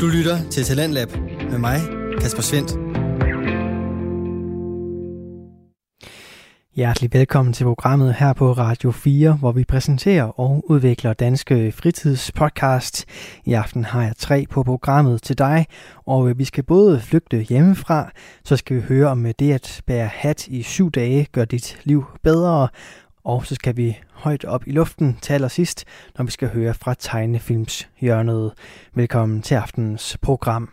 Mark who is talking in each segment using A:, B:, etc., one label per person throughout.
A: Du lytter til Talentlab med mig, Kasper Svendt.
B: Hjertelig velkommen til programmet her på Radio 4, hvor vi præsenterer og udvikler danske fritidspodcast. I aften har jeg tre på programmet til dig, og vi skal både flygte hjemmefra, så skal vi høre om det at bære hat i syv dage gør dit liv bedre, og så skal vi højt op i luften til allersidst, når vi skal høre fra tegnefilmshjørnet. Velkommen til aftenens program.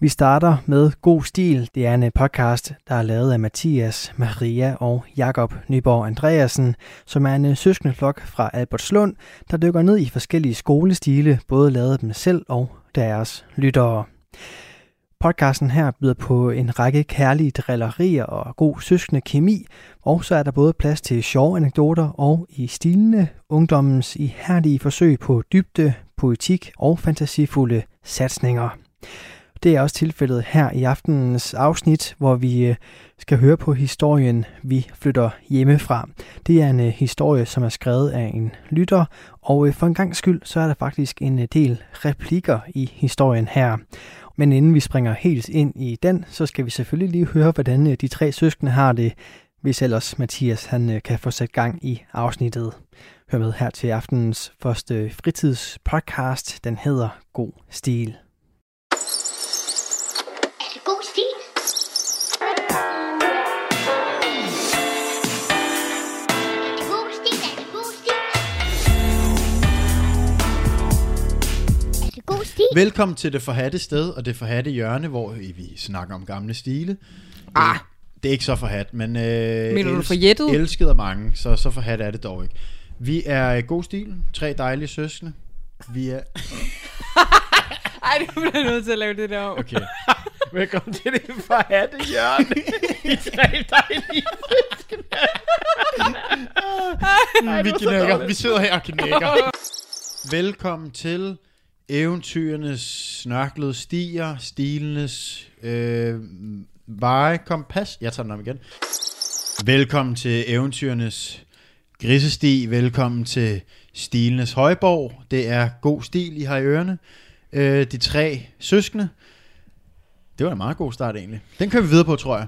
B: Vi starter med God Stil. Det er en øh, podcast, der er lavet af Mathias, Maria og Jakob Nyborg Andreasen, som er en øh, søskendeflok fra Albertslund, der dykker ned i forskellige skolestile, både lavet af dem selv og deres lyttere. Podcasten her byder på en række kærlige drillerier og god søskende kemi, og så er der både plads til sjove anekdoter og i stilene ungdommens ihærdige forsøg på dybde, poetik og fantasifulde satsninger. Det er også tilfældet her i aftenens afsnit, hvor vi øh, skal høre på historien Vi flytter hjemmefra. Det er en øh, historie, som er skrevet af en lytter, og øh, for en gang skyld, så er der faktisk en øh, del replikker i historien her. Men inden vi springer helt ind i den, så skal vi selvfølgelig lige høre, hvordan øh, de tre søskende har det, hvis ellers Mathias han øh, kan få sat gang i afsnittet. Hør med her til aftenens første fritidspodcast. Den hedder God Stil.
C: god stil. Er det god stil? Er det god stil? Er det god stil?
D: Velkommen til det forhatte sted og det forhatte hjørne, hvor vi snakker om gamle stile. Ah. Det er ikke så forhat, men... Øh, Mener
E: du forjættet?
D: Elsket af mange, så, så forhat er det dog ikke. Vi er i god stil, tre dejlige søskende. Vi er...
E: Ej, du bliver nødt til at lave det der om.
D: Okay.
F: Velkommen til det forhatte hjørne. I tre dejlige
D: vi, knækker. vi sidder her og knækker. Velkommen til eventyrenes snørklede stier, stilenes øh, veje kompas. Jeg tager den om igen. Velkommen til eventyrenes grisesti. Velkommen til stilenes højborg. Det er god stil, I har i ørerne. Øh, de tre søskende. Det var en meget god start egentlig. Den kører vi videre på, tror jeg.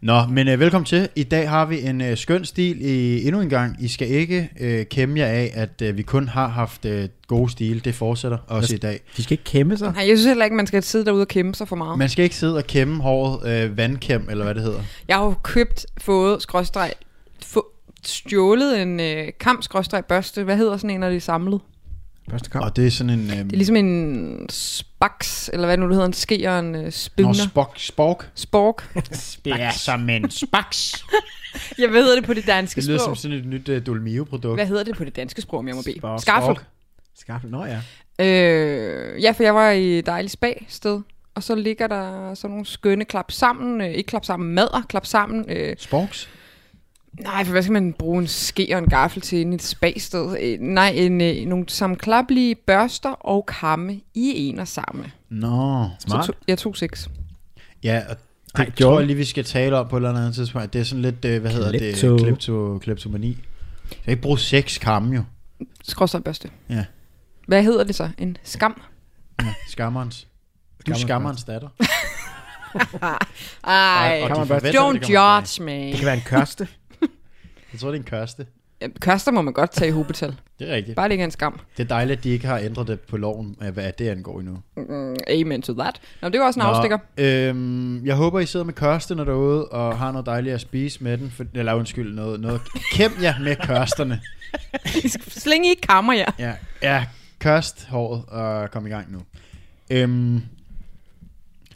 D: Nå, men øh, velkommen til. I dag har vi en øh, skøn stil i, endnu en gang. I skal ikke øh, kæmme jer af, at øh, vi kun har haft øh, gode stil. Det fortsætter også i dag.
F: De skal ikke kæmpe sig.
E: Nej, jeg synes heller ikke, man skal sidde derude og kæmpe sig for meget. Men.
D: Man skal ikke sidde og kæmme håret øh, vandkæm, eller hvad det hedder.
E: Jeg har jo købt, fået, skråstreg, få, stjålet en øh, kamp, skråstreg, børste. Hvad hedder sådan en, når det er samlet?
F: Første kamp.
D: Og det er sådan en... Øh,
E: Det er ligesom en spaks, eller hvad nu det hedder, en ske og en øh,
D: Nå,
E: spinner.
D: spork, spork.
E: Spork.
F: Det er som en spaks.
E: Jeg ved det på det danske
D: Det lyder som
E: sprog.
D: sådan et nyt øh, Dolmio-produkt.
E: Hvad hedder det på det danske sprog, om jeg må bede?
F: Spork.
E: Skaffel.
F: Skaffel, nå ja.
E: Øh, ja, for jeg var i et dejligt spa-sted, og så ligger der sådan nogle skønne klap sammen, øh, ikke klap sammen, mader, klap sammen. Øh,
D: Sporks?
E: nej, for hvad skal man bruge en ske og en gaffel til inde i et spa-sted? Øh, nej, en, øh, nogle sammenklappelige børster og kamme i en og samme.
D: Nå.
F: Smart.
E: Så to, jeg tog seks.
D: Ja, og det
F: Ej,
D: Ej, tror
F: gjorde
D: jeg
F: den.
D: lige, vi skal tale om på et eller andet tidspunkt. Det er sådan lidt, øh, hvad hedder
F: Klepto.
D: det? Klepto, kleptomani. Jeg kan ikke bruge seks kamme jo.
E: Skråstrej børste.
D: Ja.
E: Hvad hedder det så? En skam?
D: ja. Skammerens. Du er
F: Skammerens
D: skammerens datter.
E: Ej,
D: Og de
F: Kan man bare-
D: forventer,
E: don't
D: det kommer tilbage.
E: judge me.
F: Det kan være en kørste.
D: Jeg tror, det er en kørste.
E: Kørster må man godt tage i hobetal.
D: Det er rigtigt.
E: Bare det ikke er en skam.
D: Det er dejligt, at de ikke har ændret det på loven, af hvad det angår endnu.
E: Mm, Amen to that. Nå, det var også en afstikker.
D: Øhm, jeg håber, I sidder med kørsterne derude, og har noget dejligt at spise med den. For, eller undskyld, noget, noget. Kæm jer med kørsterne.
E: Sling i kammer, ja.
D: Ja, ja kørst håret og kom i gang nu. Øhm,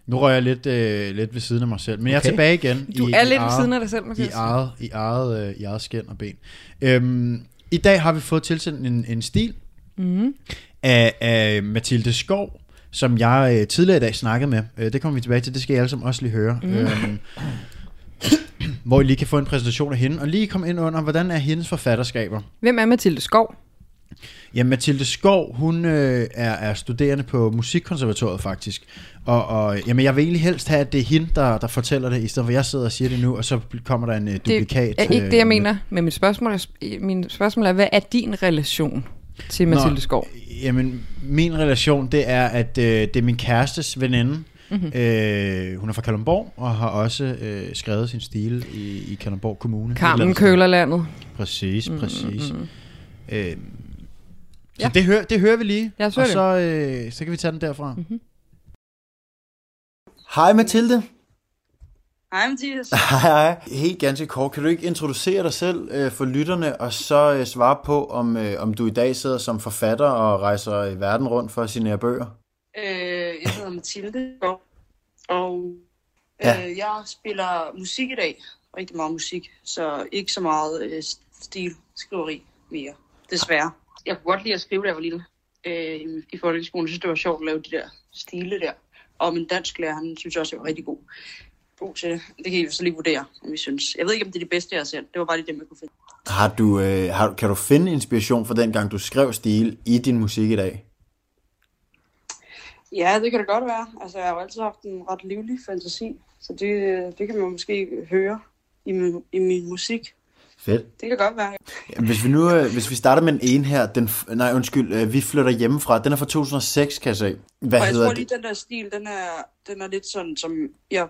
D: nu rører jeg lidt, øh, lidt ved siden af mig selv, men okay. jeg er
F: Okay.
D: tilbage igen.
E: Du
D: i,
E: er
D: i
E: lidt ved
D: eget-
E: siden af dig selv,
D: i
E: Mathias.
D: eget, i eget, øh, i eget skin og ben. Øhm, I dag har vi fået tilsendt en, en stil
E: Mhm.
D: af, af Mathilde Skov, som jeg øh, tidligere i dag snakkede med. Øh, det kommer vi tilbage til, det skal I alle sammen også lige høre.
E: Mhm.
D: Mm. Øhm, hvor I lige kan få en præsentation af hende, og lige komme ind under, hvordan er hendes forfatterskaber?
E: Hvem er Mathilde Skov?
D: Ja, Mathilde Skov, hun øh, er, er studerende på Musikkonservatoriet faktisk. Og, og jamen, jeg vil egentlig helst have, at det er hende, der, der fortæller det, i stedet for at jeg sidder og siger det nu, og så kommer der en øh,
E: det
D: duplikat.
E: er ikke
D: øh,
E: det, jeg
D: med-
E: mener. Men mit spørgsmål er, min spørgsmål er, hvad er din relation til Mathilde Skov.
D: Jamen, min relation, det er, at øh, det er min kærestes veninde.
E: Mhm.
D: Mm-hmm. Øh, hun er fra Kalundborg, og har også øh, skrevet sin stil i, i Kalundborg Kommune. Et
E: Carmen
D: eller andet sted.
E: Kølerlandet.
D: Præcis,
E: Mm,
D: præcis. Mm-hmm. Øh, så
E: Ja.
D: ja. det, hører, det hører vi lige,
E: Lad
D: og
E: os høre det.
D: så, øh, så kan vi tage den derfra. Mm-hmm.
A: Hej Mathilde.
G: Hej Mathias.
A: Hej, hej. Helt ganske kort. Kan du ikke introducere dig selv øh, for lytterne, og så øh, svare på, om, øh, om du i dag sidder som forfatter og rejser i verden rundt for at signere bøger?
G: Øh, jeg hedder Mathilde, Skov, og øh,
A: Ja.
G: jeg spiller musik i dag. Rigtig meget musik, så ikke så meget øh, stilskriveri mere, desværre. Jeg kunne godt lide at skrive, da jeg var lille øh, i- i folkeskolen. Jeg synes, det var sjovt at lave de der stile der. Og min dansklærer, han synes også, jeg var rigtig god. God til det. Det kan I jo så lige vurdere, om I synes. Jeg ved ikke, om det er det bedste, jeg har sendt. Det var bare lige det, jeg kunne finde.
A: Har du, øh, har, kan du finde inspiration fra dengang, du skrev stil i din musik i dag?
G: Ja, det kan det godt være. Altså, jeg har jo altid haft en ret livlig fantasi, så det, det kan man måske høre i min, i min musik.
A: Fedt.
G: Det kan godt være.
A: Hvis vi nu øh, hvis vi starter med en ene her, den, f- nej undskyld, øh, vi flytter hjemmefra, den er fra 2006, kan jeg se. Hvad
G: Og jeg
A: hedder
G: tror
A: det?
G: lige, den der stil, den er, den er lidt sådan, som jeg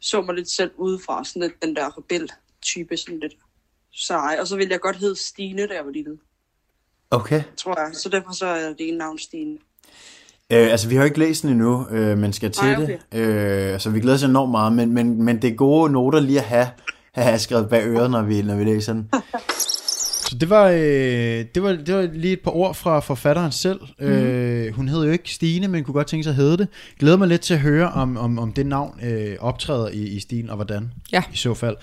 G: så mig lidt selv udefra. Sådan lidt den der rebel-type, sådan lidt sej. Og så ville jeg godt hedde Stine, da jeg var lille,
A: Okay.
G: tror jeg. Så derfor så er det ene navn Stine.
A: Øh, altså, vi har jo ikke læst den endnu, øh, men skal til
G: Nej,
A: det. Øh, så vi glæder os enormt meget, men, men, men det er gode noter lige at have, at have skrevet bag øret, når vi, når vi læser den.
D: Så det var, øh, det, var, det var lige et par ord fra forfatteren selv. Mm. Øh, hun hed jo ikke Stine, men kunne godt tænke sig at hedde det. Glæder mig lidt til at høre, om, om, om det navn øh, optræder i, i Stine, og hvordan
E: Ja.
D: i så fald.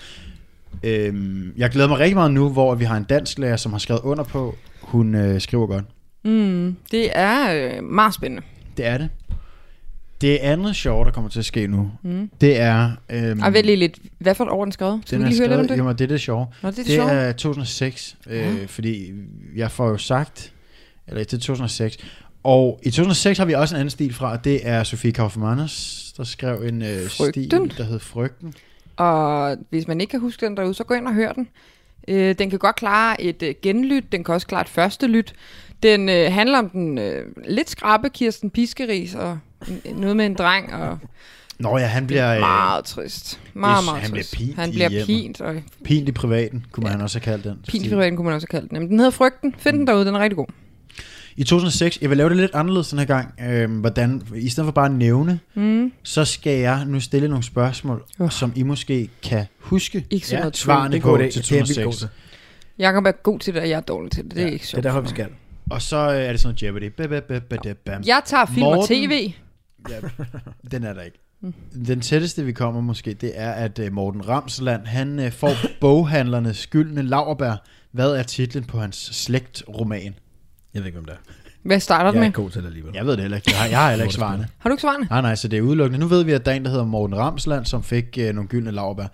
D: Øh, jeg glæder mig rigtig meget nu, hvor vi har en dansk lærer, som har skrevet under på, hun øh, skriver godt.
E: Mm, det er øh, meget spændende.
D: Det er det. Det andet sjove, der kommer til at ske nu, mm. det er... Øhm,
E: Og vent lige lidt. Hvad for et år er den skrevet? Skal vi
D: den er
E: lige høre lidt om
D: skrevet,
E: det?
D: jamen, det er det sjove.
E: Nå, det er det
D: det
E: sjove.
D: er 2006, øh, fordi jeg får jo sagt, eller det er 2006, og i 2006 har vi også en anden stil fra, og det er Sofie Kaufmannes, der skrev en øh, stil,
E: Frygten.
D: der hed Frygten.
E: Og hvis man ikke kan huske den derude, så gå ind og hør den. Øh, den kan godt klare et øh, genlyt, den kan også klare et første lyt. Den øh, handler om den øh, lidt skrappe Kirsten Piskeris og en- noget med en dreng og
D: Nå ja, han bliver øh,
E: meget trist. Meget,
D: det-
E: meget
D: han bliver
E: trist.
D: pint
E: han
D: i
E: bliver
D: hjemmet.
E: pint, og
D: pint i privaten, kunne man også have kaldt den.
E: pint
D: stil.
E: for kunne man også kalde den. Men den hedder Frygten. Find
D: Mm.
E: den derude, den er rigtig god.
D: I 2006, jeg vil lave det lidt anderledes den her gang, øh, hvordan, i stedet for bare at nævne, mm. så skal jeg nu stille nogle spørgsmål,
E: Åh.
D: som I måske kan huske
E: Ikke sådan noget
D: svarene
F: Det er en
D: på
F: god idé.
D: til
F: Det er jeg vildt
D: 2006.
F: god til.
E: Jakob er god til det, og jeg er dårlig til det. Det er ikke
F: Det er
E: sjovt.
F: derfor,
E: for
F: vi
E: mig.
F: skal.
D: Og så øh, er det sådan noget Jeopardy. Ba, ba, ba, ba, da, bam.
E: Jeg tager film og
D: Morten.
E: tv.
D: Den er der ikke. Den tætteste, vi kommer måske, det er, at øh, Morten Ramsland, han øh, får boghandlernes skyldne laverbær. Hvad er titlen på hans slægtroman?
F: Jeg ved ikke, hvem det er.
E: Hvad starter den
F: Jeg er
E: med?
F: ikke god til det alligevel.
D: Jeg ved det heller ikke. Jeg har, jeg har heller ikke svarene.
E: Har du ikke svarene?
D: Ah, Nej, nej, så det er udelukkende. Nu ved vi, at der er en, der hedder Morten Ramsland, som fik øh, nogle gyldne laverbær.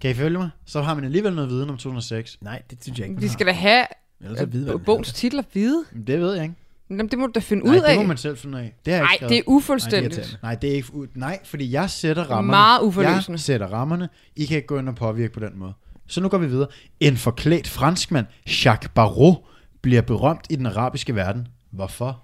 D: Kan I følge mig? Så har man alligevel noget viden om 2006.
F: Nej, det synes jeg ikke.
E: Vi skal da have
F: Ellers så vide, hvad
E: øh,
F: den
E: bogens titler vide.
D: Men det ved jeg ikke.
E: Jamen, det må du da finde
D: Nej,
E: ud af.
D: det må man selv finde ud af. Det har jeg
E: Nej,
D: ikke skrevet.
E: det er ufuldstændigt.
F: irriterende.
D: Nej, det er ikke... u- Nej, fordi jeg sætter rammerne.
E: Meget uforløsende.
D: Jeg sætter rammerne. I kan ikke gå ind og påvirke på den måde. Så nu går vi videre. En forklædt franskmand, Jacques Barrault, bliver berømt i den arabiske verden. Hvorfor?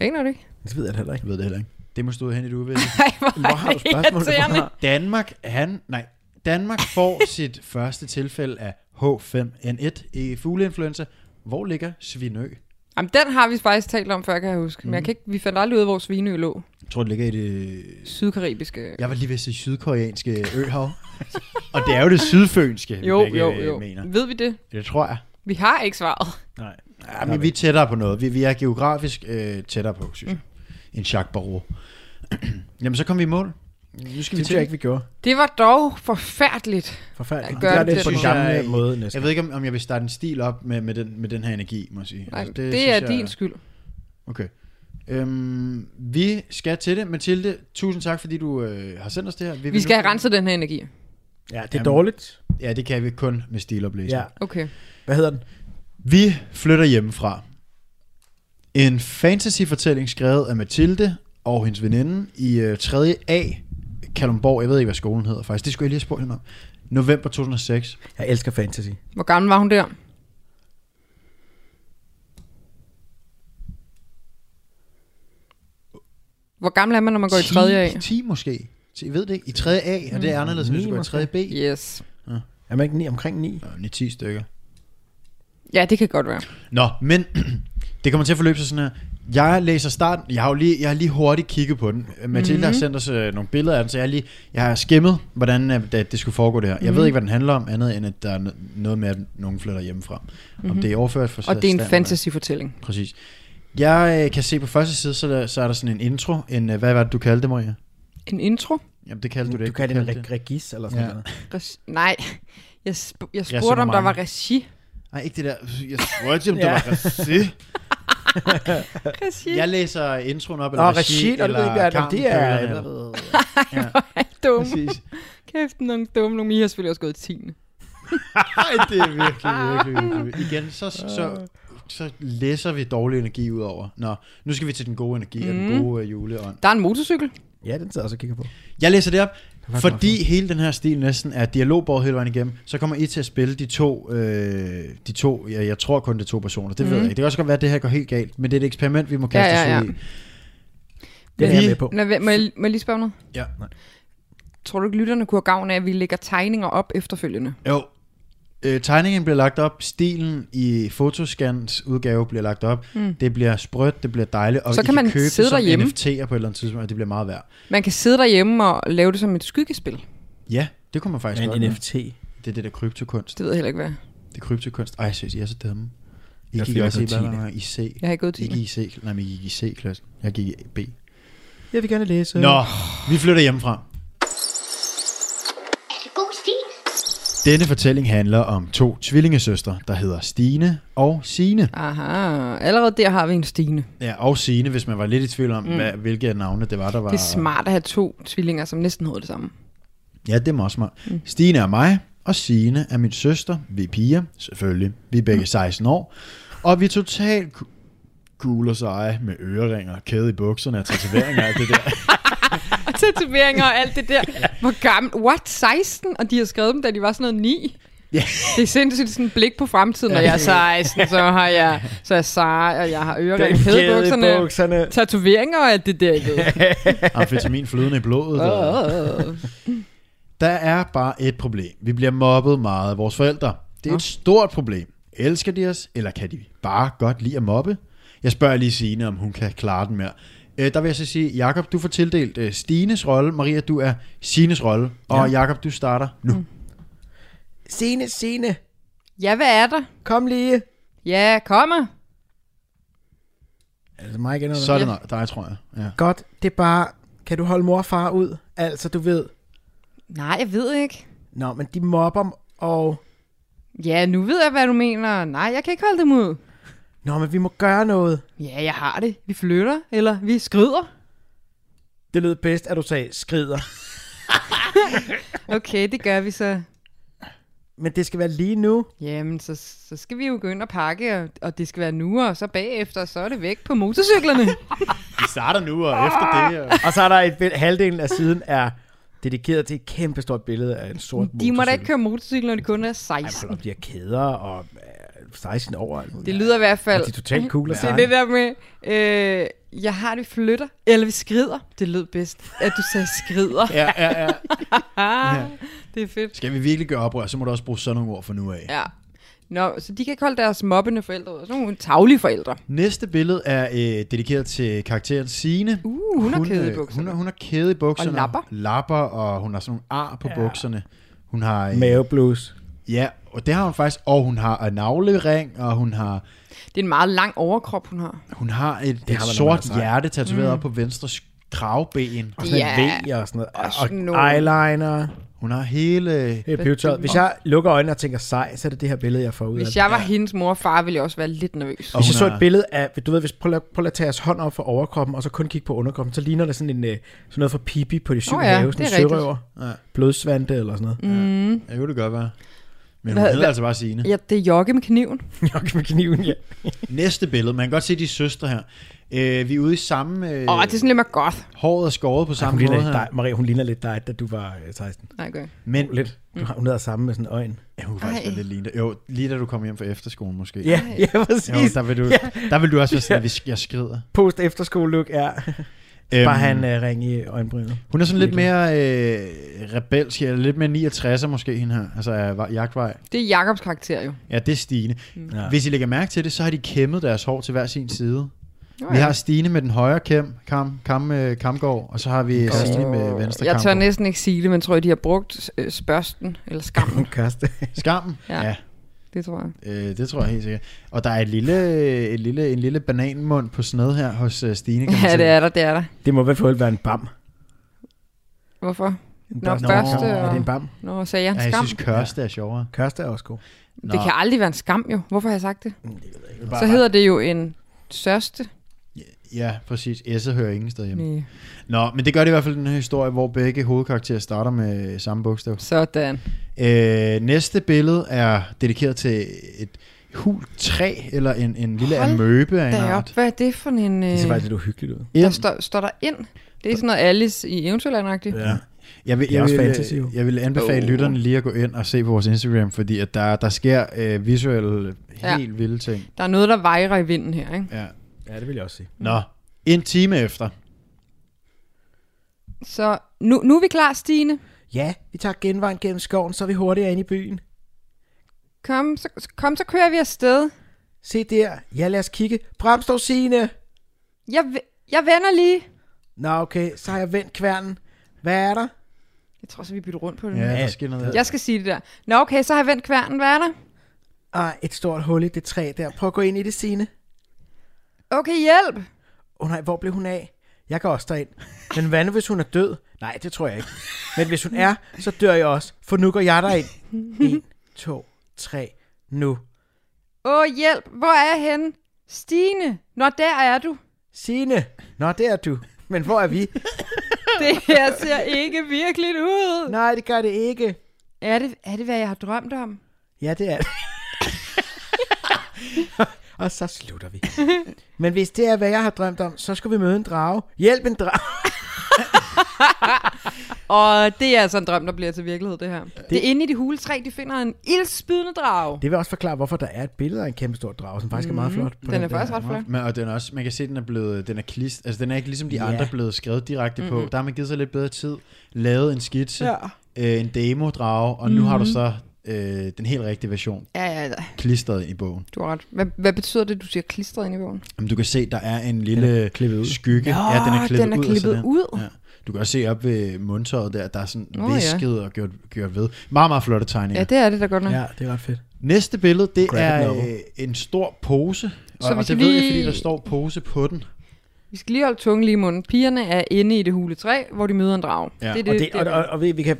E: Jeg aner det ikke.
F: Det ved jeg det heller ikke.
D: Jeg ved det heller ikke. Det må stå hen i det uvidende.
E: Nej, hvor
F: Wow,
E: er det
F: spørgsmål
E: irriterende.
F: fra-
D: Danmark, han... Nej, Danmark får sit første tilfælde af H5N1 i fugleinfluenza. Hvor ligger Svinø?
E: Jamen, den har vi faktisk talt om før, kan jeg huske.
D: Mm.
E: Men jeg kan ikke, vi fandt aldrig ud af, hvor Svinø lå.
D: Jeg tror, det ligger i det
E: Sydkaribiske. Ja.
D: Jeg var lige ved at sige sydkoreanske øhav. og det er jo det sydfønske, vi
E: Jo,
D: begge,
E: jo,
D: øh,
E: jo.
D: mener.
E: Ved vi det?
D: Det tror jeg.
E: Vi har ikke svaret.
F: Nej.
D: Ja, men vi er tættere på noget. Vi, vi er geografisk øh, tættere på, synes jeg, mm. end Jacques Barrault. Jamen, så kom vi i mål. Nu skal
F: Det
D: vi
F: synes jeg
D: til.
F: ikke, vi gjorde.
E: Det var dog forfærdeligt.
F: Forfærdeligt.
E: Jeg gør
F: det,
E: det
F: det
E: til
F: på den
E: dig.
F: gamle
D: Jeg-
F: måde næsten.
D: Jeg ved ikke, om, om jeg vil starte en stil op med, med, den, med den her energi, må jeg sige.
E: Nej,
D: Altså,
E: det, det
D: synes
E: er
D: jeg-
E: din skyld.
D: Okay. Øhm, vi skal til det. Mathilde, tusind tak, fordi du øh, har sendt os det her. vil
E: Vi skal
D: nu-
E: have renset den her energi.
F: Ja, det er
D: Jamen.
F: dårligt.
D: Ja, det kan vi kun med stiloplæsning.
F: Ja.
E: Okay.
F: Hvad hedder den?
D: Vi flytter hjemmefra. En fantasyfortælling skrevet af Mathilde og hendes veninde i øh, 3. A. Kalundborg, jeg ved ikke, hvad skolen hedder faktisk. Det skulle jeg lige have spurgt hende om. November 2006.
F: Jeg elsker fantasy.
E: Hvor gammel var hun der? Hvor gammel er man, når man går i 3. A? Mm.
D: 10 måske. 10, jeg ved det ikke. I 3. A, og det er anderledes, end hvis du
F: Ni
D: går i
F: måske.
D: 3. B. Ja.
E: Yes.
F: Er man ikke ni, omkring ni?
D: 9-10 stykker.
E: Ja, det kan godt være.
D: Nå, men det kommer til at forløbe sig sådan her. Jeg læser starten. Jeg har jo lige, jeg har lige hurtigt kigget på den. Mathilde
F: Mhm.
D: mm-hmm. har sendt os øh, nogle billeder af den, så jeg har, lige, jeg har skimmet, hvordan øh, det, det skulle foregå det her. Jeg
F: Mhm.
D: ved ikke, hvad den handler om, andet end at der er no- noget med, at nogen flytter hjemmefra. Mm-hmm.
F: Mhm.
D: Om det er overført for
E: Og det er en
D: standard.
E: fantasy-fortælling.
D: Præcis. Jeg øh, kan se på første side, så, der, så er der sådan en intro. En, øh, hvad var det, du kaldte det, Maria?
E: En intro?
D: Jamen, det kaldte du det
F: Du
D: ikke.
F: kan det en
D: kaldte
F: reg- regis eller sådan
D: Ja.
F: noget.
E: Regi- Nej, jeg, sp- jeg
D: så
E: spurgte, om der
D: mange.
E: var regi.
D: Nej, ikke det der. Jeg spurgte, om det
F: Ja.
D: var regi.
E: Regi?
D: Jeg læser introen op,
F: Nå,
D: eller
F: regi, og det ved jeg ikke, hvad
D: Carmen
F: det er.
D: Køller, eller-
F: Eller,
E: dum.
D: Præcis.
E: Kæft, nogle dumme. Nogle I har selvfølgelig også gået i 10.
D: Ej, det er virkelig,
E: Ah.
D: virkelig, virkelig. Igen, så, så, så læser vi dårlig energi ud over. Nå, nu skal vi til den gode energi mm. og den gode uh, juleånd.
E: Der er en motorcykel.
F: ja, den sidder jeg også og kigger på.
D: Jeg læser det op, fordi hele den her stil næsten er dialogbåret hele vejen igennem, så kommer I til at spille de to, øh, de to jeg, jeg tror kun det er to personer, det mm. ved jeg ikke. Det kan også godt være, at det her går helt galt, men det er et eksperiment, vi må kaste
E: Ja, ja,
D: os ud
E: ja.
D: i.
F: Den er
D: Vi-
F: jeg med på.
E: Nå, hvad- må, jeg, må jeg lige spørge om noget?
D: Ja.
E: Tror du ikke, lytterne kunne have gavn af, at vi lægger tegninger op efterfølgende?
D: Jo. Øh, tegningen bliver lagt op, stilen i Fotoscans udgave bliver lagt op. Mm. Det bliver sprødt, det bliver dejligt, og
E: Så
D: I
E: kan man
D: købe det
E: sidde
D: som
E: derhjemme.
D: NFT'er på et eller andet tidspunkt, og det bliver meget værd.
E: Man kan sidde derhjemme og lave det som et skyggespil.
D: Ja, det kunne man faktisk
F: En
D: godt. gøre.
F: NFT.
D: Det er det der kryptokunst.
E: Det ved jeg heller ikke, hvad.
D: Det er kryptokunst. Ej, seriøst, I er så dumme. I
F: Jeg
D: gik
F: fik
D: også i,
F: også
D: hvad
F: tiende.
D: var I C.
E: Jeg har ikke gået
D: I
E: til
D: gik i C. Nej, men I gik i C-klassen. Jeg gik i B.
F: Øh. Jeg vil gerne læse.
D: Nå, vi flytter hjemmefra.
C: Er det god stil?
D: Denne fortælling handler om to tvillingesøstre, der hedder Stine og Sine.
E: Aha, allerede der har vi en Stine.
D: Ja, og Sine, hvis man var lidt i tvivl om, mm. hvad, hvilke af navne det var, der var.
E: Det er smart at have to tvillinger, som næsten hedder det samme.
D: Ja, det er også smart. Mm. Stine er mig, og Sine er min søster. Vi er piger, selvfølgelig. Vi er begge 16 år. Og vi er totalt ku- cool og seje med øreringer, kæde i bukserne og tatoveringer og alt det der.
E: Og tatoveringer og alt det der. Hvor gammel? What? 16? Og de har skrevet dem, da de var sådan noget 9?
D: Ja.
E: Det er sindssygt sådan et blik på fremtiden, når jeg er 16, så har jeg, så er jeg Sara, og jeg har øreringe, kædebukserne,
F: bukserne.
E: tatoveringer og alt det der. I ved.
D: Amfetamin flydende i blodet. Og... Der er bare et problem. Vi bliver mobbet meget af vores forældre. Det er et stort problem. Elsker de os, eller kan de bare godt lide at mobbe? Jeg spørger lige Signe, om hun kan klare den mere. Øh, der vil jeg så sige, Jakob, du får tildelt øh, Stines rolle. Maria, du er Sines rolle. Og Jakob, du starter nu.
F: Sene, Sene,
E: Ja, hvad er der?
F: kom lige.
E: Ja, kommer.
F: Er det mig igen? Eller?
D: Så er det nok dig, tror jeg. Ja.
F: Godt, det er bare, kan du holde mor og far ud? Altså, du ved,
E: Nej, jeg ved ikke.
F: nå, men de mobber, og
E: Ja, nu ved jeg, hvad du mener. Nej, jeg kan ikke holde dem ud.
F: nå, men vi må gøre noget.
E: Ja, jeg har det. Vi flytter, eller vi skrider.
F: Det lød bedst, at du sagde, skrider.
E: Okay, det gør vi så.
F: Men det skal være lige nu.
E: Jamen, så, så skal vi jo gå ind og pakke, og, og det skal være nu, og så bagefter, så er det væk på motorcyklerne.
D: Vi starter nu, og efter det... Og...
F: Og så er der et bill- halvdelen af siden er dedikeret til et kæmpestort billede af en sort
E: De må da
F: motorcykel.
E: ikke køre motorcykel, når de kun er
F: Ej, hold
E: 16.
F: op, de har kæder og øh, 16 år.
E: Det lyder i hvert fald...
F: Og de er totalt cool altså. og
E: Det er det der med, øh, jeg har det vi flytter, eller vi skrider. Det lød bedst, at du sagde skrider.
D: Ja, ja, ja.
E: Ah, det er fedt.
D: Skal vi virkelig gøre oprør, så må du også bruge sådan nogle ord for nu af.
E: Ja. Nå, så de kan ikke holde deres mobbende forældre ud. og Sådan nogle taglige forældre.
D: Næste billede er øh, dedikeret til karakteren Sine.
E: Uh, hun har kæde i
D: øh,
E: bukserne.
D: Hun, har- hun har kæde i bukserne.
E: Og lapper.
D: Lapper, og hun har sådan nogle ar på ja. bukserne. Hun har... Øh,
F: Maveblues.
D: ja, og det har hun faktisk. Og hun har en navlering, og hun har,
E: Det er en meget lang overkrop, hun har.
D: hun har et, et
F: har man, når man er
D: sort
F: sej.
D: hjerte tatoveret mm. op på venstre sk- kravben.
F: Og sådan
E: Ja.
F: en V og sådan noget. Og,
E: sådan
F: og
E: noget.
F: eyeliner.
D: Hun har hele...
F: Det er pivetøjet. Hvis jeg lukker øjnene og tænker sej, så er det det her billede, jeg får ud af
E: Hvis
F: det.
E: jeg var hendes mor og far, ville jeg også være lidt nervøs.
D: Og
F: Hvis jeg
D: hun
F: så
D: har-
F: et billede af, du ved, hvis prøv, at- prøv at tage jeres hånd op for overkroppen, og så kun kigge på underkroppen, så ligner det sådan, en, øh, sådan noget fra Pipi på de syv
E: Nå
F: oh,
E: ja,
F: ja, have, sådan
E: det
F: en
E: er rigtigt.
F: sørøver,
D: Ja.
F: blodsvante eller sådan noget. Mm.
D: Ja, det kunne det godt være. Men hun
E: Hvad-
D: hedder
E: hvad-
D: altså bare Signe.
E: Ja, det er Jokke med kniven.
F: Jokke med kniven, ja.
D: Næste billede. Man kan godt se de søstre her. Øh, vi er ude i samme... Øh,
E: Åh, oh, det er sådan lidt mere godt.
D: Håret er skåret på
F: Hun
D: samme
F: ligner
D: måde
F: lidt
D: her.
F: dig, Maria, hun ligner lidt dig, da du var øh, 16.
E: Nej, okay.
D: Men
F: Lidt. Du har, hun hedder samme med sådan en øjne.
D: Ja, hun kunne faktisk
E: Ej.
D: være lidt lignende. Jo, lige da du kom hjem fra efterskolen måske.
F: Ja, ja,
D: Jo,
F: præcis.
D: der vil du, der vil du også være sådan, at vi- jeg skrider.
F: Post efterskole look, ja.
D: Øhm,
F: Bare han øh, ring i øjenbrynet.
D: Hun er sådan lidt mere øh, rebelsk, eller lidt mere 69'er måske, hende her. Altså af va- jagtvej.
E: Det er Jakobs karakter jo.
D: Ja, det er Stine. Mm.
F: Ja.
D: Hvis I lægger mærke til det, så har de kæmmet deres hår til hver sin side.
E: Nå
D: Vi
E: ja.
D: har Stine med den højre kæm, kam, kam, øh, kamgård, og så har vi øh, Stine med venstre
E: Jeg tør
D: kamgård.
E: næsten ikke sige det, men tror jeg, de har brugt øh, spørsten, eller skammen,
F: Kaste.
D: Skammen?
E: Ja.
D: Ja. ja.
E: det tror jeg.
D: Øh, det tror jeg helt sikkert. Og der er et lille, et lille, en lille bananmund på sned her hos øh, Stine. Kan man
E: Ja,
D: se.
E: det er der, det er der.
F: Det må i hvert fald være en bam.
E: Hvorfor?
F: En
E: Nå,
F: børste.
E: børste
F: Nå, Er
E: og-
F: det en bam?
E: Nå, sagde jeg
D: Ja,
E: en
D: jeg
E: skam?
D: synes, Kørste er sjovere.
F: Kørste er også god.
E: Det
D: Nå.
E: kan aldrig være en skam jo. Hvorfor har jeg sagt det?
D: Bare-
E: Så hedder det jo en sørste.
D: Ja, præcis. S'et hører ingen sted hjemme.
E: Næh.
D: Nå, men det gør det i hvert fald i den her historie, hvor begge hovedkarakterer starter med samme bogstav.
E: Sådan.
D: Øh, næste billede er dedikeret til et hul træ, eller en, en lille
E: Hold
D: amøbe af en
E: Deroppe,
D: art.
E: hvad er det for en...
F: Det ser
E: Øh,
F: faktisk lidt uhyggeligt ud.
E: der
D: Ind.
E: står, står der ind. Det er sådan noget Alice i eventyrlandagtigt. Ja.
D: Jeg vil,
F: er
D: jeg,
F: også
D: vil,
F: fantasy, jo.
D: øh, jeg vil anbefale oh. lytterne lige at gå ind og se på vores Instagram, fordi at der, der sker øh, visuelle
E: Ja.
D: helt ja. vilde ting.
E: Der er noget, der vejrer i vinden her, ikke?
D: Ja.
F: Ja, det vil jeg også sige.
D: Nå, Mm. en time efter.
E: Så nu, nu er vi klar, Stine.
F: Ja, vi tager genvejen gennem skoven, så er vi hurtigere ind i byen.
E: Kom, så, kom, så kører vi afsted.
F: Se der. Ja, lad os kigge. Brems dog, Signe.
E: Jeg, ve- jeg vender lige.
F: Nå, okay. Så har jeg vendt kværnen. Hvad er der?
E: Jeg tror så, vi bytter rundt på det.
D: Ja,
E: Ja.
D: der sker noget.
E: Jeg skal sige det der. Nå, okay, så har jeg vendt kværnen. Hvad er der?
F: Ah, et stort hul i det træ der. Prøv at gå ind i det, Signe.
E: Okay, hjælp.
F: Åh oh, nej, hvor blev hun af? Jeg går også derind. Men hvad nu, hvis hun er død? Nej, det tror jeg ikke. Men hvis hun er, så dør jeg også, for nu går jeg derind. 1, 2, 3, nu.
E: Åh, hjælp. Hvor er jeg henne? Stine. Nå, der er du.
F: Signe. Nå, det er du. Men hvor er vi?
E: Det her ser ikke virkeligt ud.
F: Nej, det gør det ikke.
E: Er det, er det, hvad jeg har drømt om?
F: Ja, det er det. Og så slutter vi. Men hvis det er, hvad jeg har drømt om, så skal vi møde en drage. Hjælp en drage.
E: Og det er altså en drøm, der bliver til virkelighed, det her. Det, det er inde i det huletræ, de finder en ildspydende drage. Det,
F: Det vil også forklare, hvorfor der er et billede af en kæmpe stor drage, som faktisk er meget flot. på
E: den er
F: der.
E: faktisk ret flot.
D: Men, og den er også, man kan se, at den er blevet, den er klist, altså den er ikke ligesom de
F: Ja.
D: andre blevet skrevet direkte på.
E: Mm-hmm.
D: Der har man givet sig lidt bedre tid, lavet en skitse, ja. øh, en demo-drage, og nu har
E: Mm-hmm.
D: du så øh, den helt rigtige version
E: Ja, ja, ja.
D: klistret ind i bogen.
E: Du har ret. Hvad, hvad betyder det, du siger klistret ind i bogen?
D: Jamen, du kan se, der er en lille
F: klippet ud.
D: skygge. ja, den er klippet,
E: Ah, den er
D: ud, og så
E: klippet
D: den-
E: ud.
D: Ja. Du kan også se op ved mundtøjet der, der er sådan
E: Nå,
D: oh,
E: ja.
D: visket ja. og gjort, gjort ved. Meget, meget flotte tegninger.
E: Ja,
D: Ja, det...
E: det er det, der godt nok. Ja.
F: Ja, det er ret fedt.
D: Næste billede, det
F: Graphic
D: er
F: novel.
D: øh, en stor pose. Og,
E: Så vi
D: og
E: skal
D: det ved jeg,
E: lige-
D: fordi der står pose på den.
E: Vi skal lige holde tungen lige i munden. Pigerne er inde i det huletræ, hvor de møder en drage.
D: Ja,
E: det,
F: Og, det, og, og, og vi, vi kan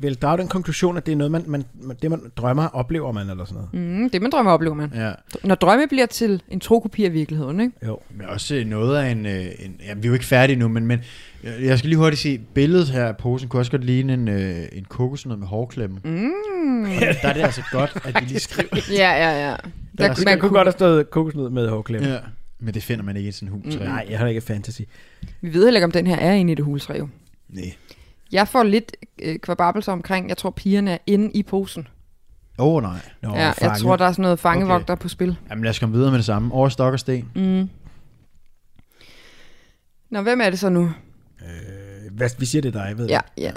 F: vel drage den konklusion, at det er noget, man, man, man- det man drømmer, oplever man eller sådan noget. Mm.
E: Mm, det man drømmer oplever man.
D: Ja.
E: Når drømme bliver til en tro kopi af virkeligheden, ikke?
F: Jo.
D: Men også øh, noget af en... Øh, en ja, vi er jo ikke færdige nu, men, men jeg jeg skal lige hurtigt sige, billedet her af posen kunne også godt ligne en, øh, en kokosnød med hårklemme. Mm. der er det altså godt, at de lige skriver.
E: Ja, ja, ja. Der,
F: Man, man kunne godt have stået kokosnød med hårklem. Ja.
D: Ja. Men det finder man ikke i sådan en hus. Mm.
F: Nej, jeg har ikke fantasy.
E: Vi ved heller ikke, om den her er inde i det huletræ, jo.
D: Nej.
E: Jeg får lidt øh, kvababelser omkring, jeg tror, pigerne er inde i posen.
D: Åh oh, nej.
F: Nå,
E: ja, jeg tror, der er sådan noget fangevogter okay. på spil.
D: Jamen lad os komme videre med det samme. Over stok og sten. Mm.
E: Nå, hvem er det så nu?
F: Øh, Hvad, vi siger det er dig, ved
E: Ja,
F: jeg.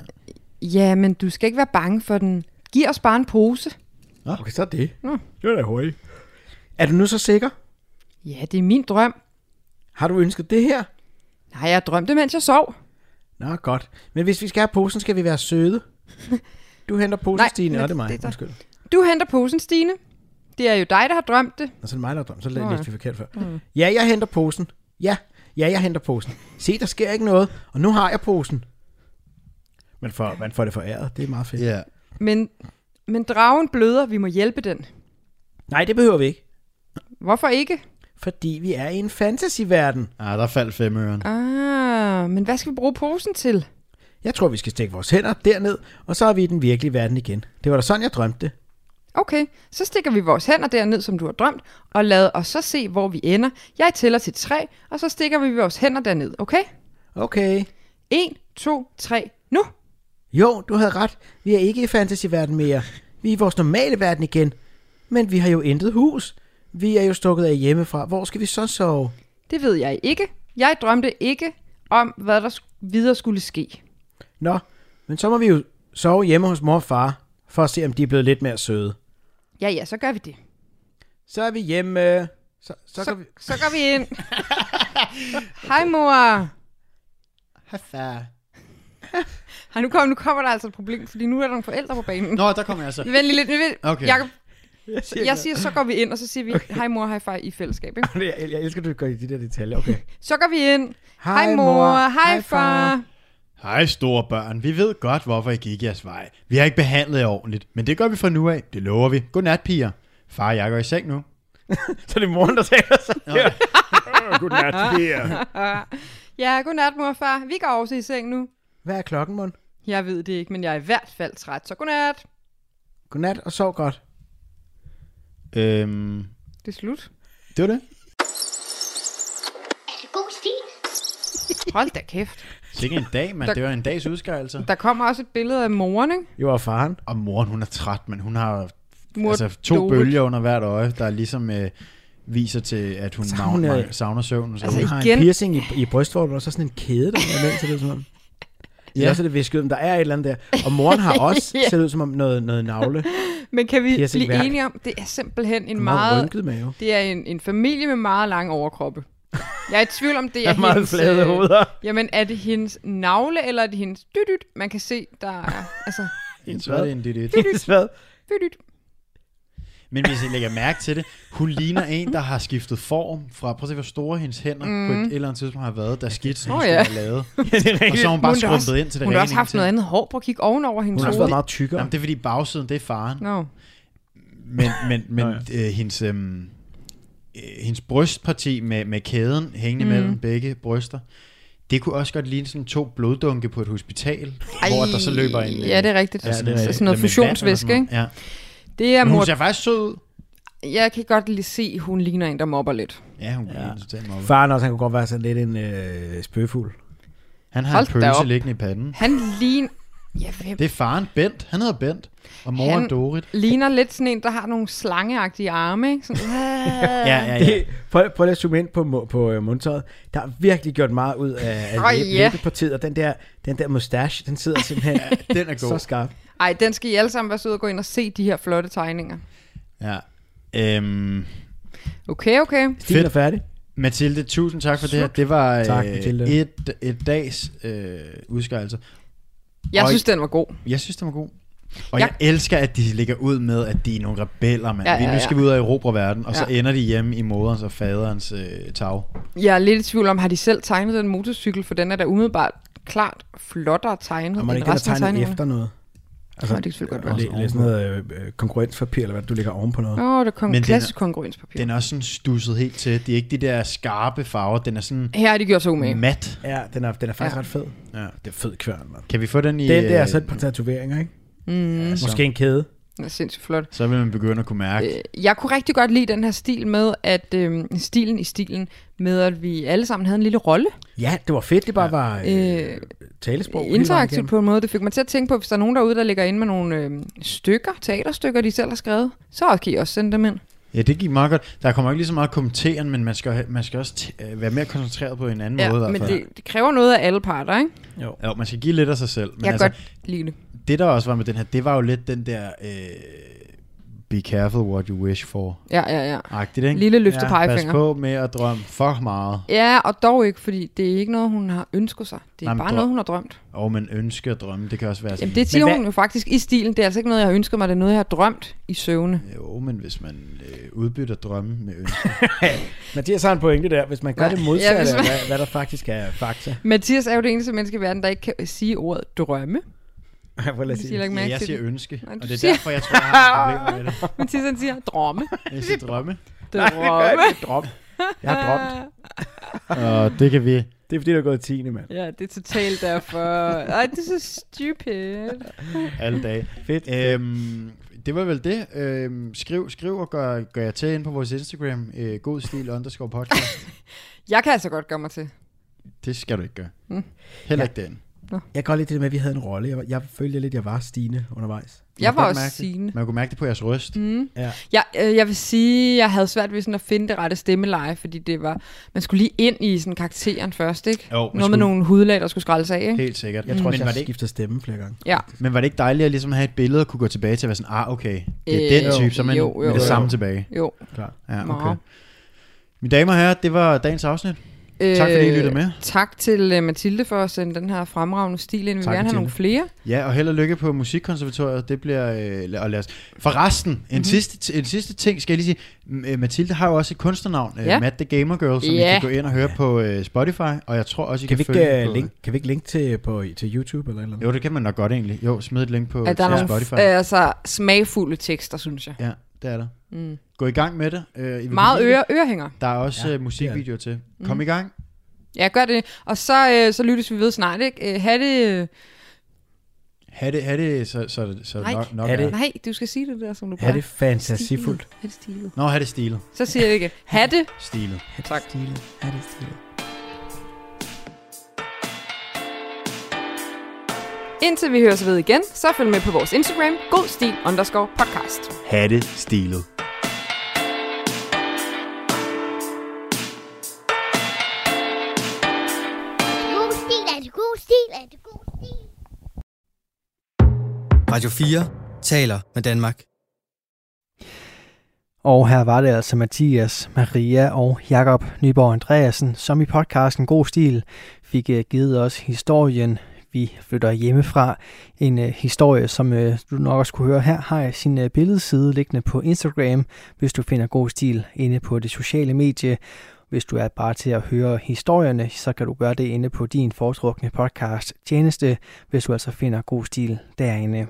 E: ja. Ja, men du skal ikke være bange for den. Giv os bare en pose.
F: Okay, så er det.
E: Nå.
F: Det var da hurtigt. Er du nu så sikker?
E: Ja, det er min drøm.
F: Har du ønsket det her?
E: Nej, jeg drømte, mens jeg sov.
F: Nå, godt. Men hvis vi skal have posen, skal vi være søde. Du henter posen,
E: Nej,
F: Stine. Nå,
E: men
F: det er mig.
E: det er dig.
F: Undskyld.
E: Du henter posen, Stine. Det er jo dig, der har drømt det.
F: Nå, så er det mig, der har drømt. Så læ-
E: Nå, ja. Mm.
F: læste vi forkert før. Ja, jeg henter posen. Ja, ja, jeg henter posen. Se, der sker ikke noget, og nu har jeg posen. Man får, man får det foræret. Det er meget fedt.
D: Ja.
E: Men, men dragen bløder, vi må hjælpe den.
F: Nej, det behøver vi ikke.
E: Hvorfor ikke?
F: Fordi vi er i en fantasyverden.
D: Ah, der faldt femøren.
E: Ah, men hvad skal vi bruge posen til?
F: Jeg tror, vi skal stikke vores hænder derned, og så er vi i den virkelige verden igen. Det var da sådan, jeg drømte det.
E: Okay, så stikker vi vores hænder derned, som du har drømt, og lad os så se, hvor vi ender. Jeg tæller til tre, og så stikker vi vores hænder derned, okay?
F: Okay.
E: 1, 2, 3, nu!
F: Jo, du havde ret. Vi er ikke i fantasyverden mere. Vi er i vores normale verden igen. Men vi har jo intet hus. Vi er jo stukket af hjemmefra. Hvor skal vi så sove?
E: Det ved jeg ikke. Jeg drømte ikke om, hvad der sk- videre skulle ske.
F: Nå, men så må vi jo sove hjemme hos mor og far, for at se, om de er blevet lidt mere søde.
E: Ja, ja, så gør vi det.
F: Så er vi hjemme. Så,
E: Så,
F: så, så... kan vi...
E: så går vi ind. Hej mor.
D: Hej far.
E: Hej, nu, kom, nu kommer der altså et problem, fordi nu er der nogle forældre på banen.
D: Nå, der kommer jeg altså. så.
E: Vent lige lidt. Vent.
D: Okay.
E: Jacob, jeg siger, så går vi ind, og så siger vi, hej mor, hej far, i fællesskab. Ikke?
F: Jeg, jeg elsker, at du går i de der detaljer. Okay.
E: Så går vi ind. Hej mor, hej far.
D: Hej store børn, vi ved godt, hvorfor I gik jeres vej. Vi har ikke behandlet jer ordentligt, men det gør vi fra nu af. Det lover vi. Godnat, piger. Far, jeg går i seng nu.
F: Så det er moren, der taler sådan her. Godnat.
E: Ja, godnat mor og far. Vi går også i seng nu.
F: Hvad er klokken, mon?
E: Jeg ved det ikke, men jeg er i hvert fald træt, så godnat.
F: Godnat og sov godt.
D: Øhm,
E: Det er slut.
D: det var det.
C: Er det god stil?
E: Hold da kæft.
D: Sikke en dag, mand.
E: Der-
D: Det var en dags udskejelse.
E: Der kommer også et billede af moren, ikke?
F: Jo, og faren.
D: Og moren, hun er træt, men hun har
E: Mor
D: altså, to
E: Dorit.
D: bølger under hvert øje, der ligesom øh, viser til, at hun
F: Så hun
D: savner,
F: er-
D: savner søvnen. Så
E: Altså,
F: Hun
D: hun-
F: har
E: igen.
F: en piercing i, i brystvorten, og så sådan en kæde, der er med til det, som om. Ja. Også er det visket, men der er et eller andet der. Og moren har også
E: Ja.
F: set ud som om noget, noget navle.
E: Men kan vi
F: Piercing
E: blive
F: værk.
E: enige om, det er simpelthen en
F: Hun har
E: meget...
F: rynket mave.
E: Det er en, en familie med meget lange overkroppe. Jeg er i tvivl om, det er
F: Ja, meget
E: hendes...
F: flade
E: øh,
F: hoveder.
E: Jamen, er det hendes navle, eller er det hendes dydyt? Man kan se, der er... Altså,
D: så er det en dit
F: Hendes hvad?
E: dydyt.
D: Men hvis I lægger mærke til det, hun ligner en, der har skiftet form fra, prøv at se, hvor store hendes hænder mm. på et eller andet tidspunkt har været, da skitsen oh,
E: Åh,
D: ja.
E: ja.
D: er lavet.
F: Ja, det er
D: Og
F: rigtigt.
D: så har hun bare
E: da også,
D: skrumpet ind til det
E: hun har
D: rene
E: også haft
D: ingenting.
E: noget andet hår på at kigge ovenover hendes
F: Hun har også
E: hoved.
F: været meget tykkere.
D: Jamen, det er fordi bagsiden, det er faren.
E: Nå,
D: Men, men, men øh, hendes, øh, hendes brystparti med, med kæden hængende mm. mellem begge bryster, det kunne også godt ligne sådan to bloddunke på et hospital, Ej, hvor der så løber en... øh,
E: Ja, det er rigtigt.
D: altså,
E: sådan, sådan
D: øh,
E: noget
D: med vand eller
E: fusionsvæske,
D: sådan
E: ikke?
D: noget.
E: Det er
D: Ja. Men
E: mor...
D: hun ser faktisk sød ud.
E: Jeg kan godt lige se, hun ligner en, der mobber lidt.
D: Ja, hun ja. totalt mobbet.
F: Faren også, han kunne godt være sådan lidt en øh, spøgefuld.
D: Han har
E: Hold
D: en
E: da
D: pølse
E: op.
D: liggende i panden.
E: Han ligner... Ja, hvem?
D: Det er faren Bent. Han hedder Bent. Og moren
E: Han- Øh.
D: Dorit.
E: Ligner lidt sådan en, der har nogle slangeagtige arme, ikke? Sådan,
D: Ja, ja, ja.
F: Det, prøv, prøv lige at zoome ind på, mu- på øh, mundtøjet. Der er virkelig gjort meget ud af, af
E: Åh,
F: læbe-
E: ja.
F: læbepartiet, og den der, den der mustache, den sidder simpelthen
D: Den er
F: så
D: god.
F: skarp.
E: Ej, den skal I alle sammen være søde og gå ind og se de her flotte tegninger.
D: Ja. Øhm,
E: Okay, okay.
F: Stilen
D: Fedt.
F: er færdig.
D: Mathilde, tusind tak for det her. Det var
F: Tak,
D: øh,
F: Mathilde.
D: et, et dags øh, udskørelse.
E: Jeg
D: Og-
E: synes, den var god.
D: Jeg synes, det var god. Og
E: Ja.
D: jeg elsker, at de ligger ud med, at de er nogle rebeller, mand.
E: Ja, ja,
D: Vi- Nu skal vi ud og erobre verden, og så
E: Ja.
D: ender de hjemme i moderens og faderens øh, tag.
E: Jeg er lidt i tvivl om, har de selv tegnet den motorcykel, for den er da umiddelbart klart flottere tegnet
F: Og man
E: end
F: ikke den, der
E: resten af
F: tegnet
E: tegningerne.
F: efter noget.
E: Altså, Nå, det kan selvfølgelig godt være.
F: Læ- læ- sådan noget øh, øh, konkurrencepapir, eller hvad du lægger oven på noget.
E: Åh, oh, der kom
D: Men den
E: klassisk
D: er-
E: kongruenspapir.
D: Den er også sådan stusset helt til. Det er ikke de der skarpe farver. Den er sådan
E: Her har de gjort sig umage.
D: mat.
F: Ja, den er, den er faktisk
E: Ja.
F: ret fed.
D: Ja.
F: Det er fed kværn, mand.
D: Kan vi få den i...
F: Den der er altså
D: øh,
F: sat på tatoveringer, ikke?
E: Mm,
D: så-
F: Måske en kæde.
E: den er sindssygt flot.
D: Så vil man begynde at kunne mærke.
E: Øh, Jeg kunne rigtig godt lide den her stil med, at øh, stilen i stilen med, at vi alle sammen havde en lille rolle
F: Ja, det var fedt, det bare var øh,
E: Øh,
F: talesprog. hele vejen
E: interaktivt
F: igennem.
E: på en måde. Det fik mig til at tænke på, hvis der er nogen derude, der ligger inde med nogle øh, stykker, teaterstykker, de selv har skrevet, så kan I også sende dem ind.
D: Ja, det gik meget godt. Der kommer ikke lige så meget kommenteren, men man skal, man skal også t- øh, være mere koncentreret på en anden
E: Ja,
D: måde. i hvert
E: men
D: fald.
E: det, det kræver noget af alle parter, ikke?
D: Jo, man skal give lidt af sig selv. Men
E: Jeg kan
D: altså,
E: godt lide det.
D: det der også var med den her, det var jo lidt den der... Øh, be careful what you wish for.
E: Ja, ja, ja.
D: Agtigt, ikke?
E: Lille løftet
D: Pas
E: pegefinger.
D: på med at drømme for meget.
E: Ja, og dog ikke, fordi det er ikke noget, hun har ønsket sig. Det er
D: Nej, men
E: bare
D: drøm-
E: noget, hun har drømt.
D: Og man ønsker at drømme, det kan også være sådan.
E: Jamen, det siger
F: hvad-
E: hun jo faktisk i stilen. Det er altså ikke noget, jeg har ønsket mig. Det er noget, jeg har drømt i søvne.
D: Jo, men hvis man øh, udbytter drømme med ønsker.
F: Mathias har en pointe der. Hvis man gør
E: Nej,
F: det modsatte
E: ja, hvis
F: af,
E: man-
F: hvad, hvad der faktisk er fakta.
E: Mathias er jo det eneste menneske i verden, der ikke kan sige ordet drømme.
F: Prøv lige at
E: Det
F: sige
E: siger
F: det.
E: ikke
D: ja,
E: mærke
D: jeg
E: til
D: siger
E: det.
D: ønske,
E: Nej,
D: og
E: du
D: det er
E: siger-
D: derfor, jeg tror, jeg har problemer med det.
E: Mathias han siger drømme.
D: Jeg siger drømme.
F: Nej, det gør jeg
E: drømme.
F: ikke. Drop. Jeg har droppet.
D: Og det kan vi
F: Det er fordi, du er gået 10. mand.
E: Ja, det er totalt derfor. Ej, det er så stupid.
D: alle dage.
F: Fedt.
D: Øhm, det var vel det. Øhm, skriv, skriv og gør, gør jer til ind på vores Instagram. Øh, god stil underscore podcast.
E: Jeg kan altså godt gøre mig til. Mm.
D: det skal du ikke gøre. Heller ikke den.
F: Jeg kan godt lide det der med, at vi havde en rolle. Jeg, var- jeg følte lidt, at jeg var Stine undervejs.
E: Jeg var
D: godt
E: også
D: mærke det.
E: sigende.
D: Man kunne mærke det på jeres ryst. Mm.
E: Jeg, øh, jeg vil sige, jeg havde svært ved sådan at finde det rette stemmeleje, fordi det var, man skulle lige ind i sådan karakteren først, ikke?
D: Jo, man
E: Noget med
D: skulle.
E: nogle hudlag, der skulle skrælles af, ikke?
D: Helt sikkert.
F: Jeg tror også,
D: men, var
F: jeg
D: det
F: har
D: ikke,
F: skiftet stemme flere gange.
E: Ja.
D: men var det ikke dejligt at ligesom have et billede og kunne gå tilbage til at være sådan, ah, okay, det er
E: Øh,
D: den
E: jo.
D: type, så er man
E: Jo, jo,
D: med det
E: jo.
D: samme tilbage.
E: Jo.
D: Ja,
E: Meget.
D: okay. Mine damer og herrer, det var dagens afsnit. Tak fordi I lyttede med.
E: Øh, Tak til uh, Mathilde for at sende den her fremragende stil ind. Vi
D: Tak,
E: vil gerne have nogle flere.
D: Ja, og held og lykke på Musikkonservatoriet. Det bliver... Øh, la- og lad os. Forresten, en,
E: Mhm.
D: mm-hmm. sidste, en sidste ting skal jeg lige sige. M- øh, Mathilde har jo også et kunstnernavn, ja.
E: Ja.
D: Matt the Gamer Girl, som
E: Ja.
D: I kan gå ind og høre på øh, Spotify, og jeg tror også, I
F: Kan
D: kan, øh,
F: vi
D: følge
F: ikke,
D: hende
F: uh,
D: på...
F: link, kan vi ikke linke til, på, til YouTube eller et eller andet?
D: Jo, det kan man nok godt egentlig. Jo, smid et link på
E: At der
D: til
E: er nogle
D: Spotify.
E: f- altså, smagfulde tekster, synes jeg.
D: Ja, det er der. Mm. Gå i gang med det. Øh, I vil
E: Meget
D: kunne lide
E: øre, Mm. ørehænger.
D: det. Der er også ja, musikvideoer til. Kom i gang.
E: Ja, gør det. Og så, øh, så lyttes vi ved snart, ikke? Øh, ha' det... Øh,
D: Ha' det, ha' det, så, så, så
E: Nej.
D: nok, nok
F: Ha' det.
D: er.
E: øh, nej, du skal sige det der, som du
F: Er
E: plejer.
F: det fantasifuldt?
E: Ha' det stilet.
D: Nå, ha' det stilet.
E: Så siger jeg det igen. Ha' det
D: Stilet.
E: Tak.
F: Er det stilet?
E: Indtil vi høres ved igen, så følg med på vores Instagram, godstil underscore podcast.
D: Ha' det stilet.
C: god stil, er det god stil, er det god stil.
H: Radio 4 taler med Danmark.
B: Og her var det altså Mathias, Maria og Jakob Nyborg Andreasen, som i podcasten God Stil fik øh, givet os historien Vi flytter hjemmefra. En øh, historie, som øh, du nok også kunne høre her, har jeg sin øh, billedside liggende på Instagram, hvis du finder God Stil inde på det sociale medie. Hvis du er bare til at høre historierne, så kan du gøre det inde på din foretrukne podcast tjeneste, hvis du altså finder God Stil derinde.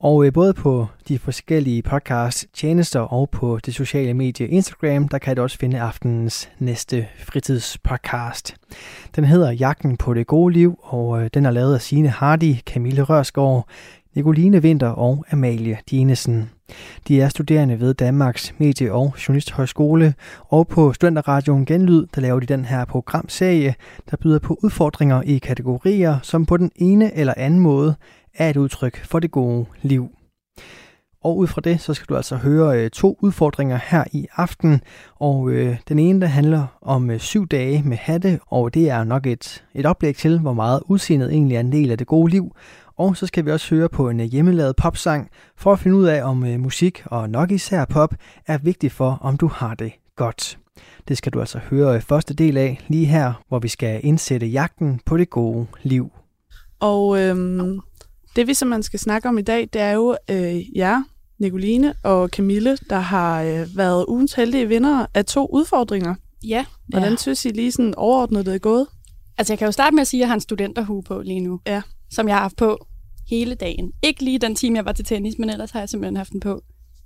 B: Og øh, både på de forskellige podcast-tjenester og på det sociale medie Instagram, der kan du også finde aftenens næste fritidspodcast. Den hedder Jagten på det gode liv, og øh, den er lavet af Signe Hardy, Camille Rørsgaard, Nicoline Vinter og Amalie Dinesen. De er studerende ved Danmarks Medie- og Journalisthøjskole, og på Studenterradioen Genlyd, der laver de den her programserie, der byder på udfordringer i kategorier, som på den ene eller anden måde er et udtryk for det gode liv. Og ud fra det, så skal du altså høre øh, to udfordringer her i aften. Og øh, den ene, der handler om øh, syv dage med hatte, og det er nok et, et oplæg til, hvor meget udseendet egentlig er en del af det gode liv. Og så skal vi også høre på en øh, hjemmelavet popsang, for at finde ud af, om øh, musik og nok især pop er vigtigt for, om du har det godt. Det skal du altså høre øh, første del af lige her, hvor vi skal indsætte jagten på det gode liv.
I: Og øhm, det vi simpelthen skal snakke om i dag, det er jo øh, jer, Nicoline og Camille, der har øh, været ugens heldige vinder af to udfordringer.
J: Ja,
I: Hvordan
J: Ja.
I: synes I lige sådan overordnet det er gået?
J: altså jeg kan jo starte med at sige, at jeg har en studenterhue på lige nu,
I: Ja.
J: som jeg har haft på hele dagen. Ikke lige den time, jeg var til tennis, men ellers har jeg simpelthen haft den på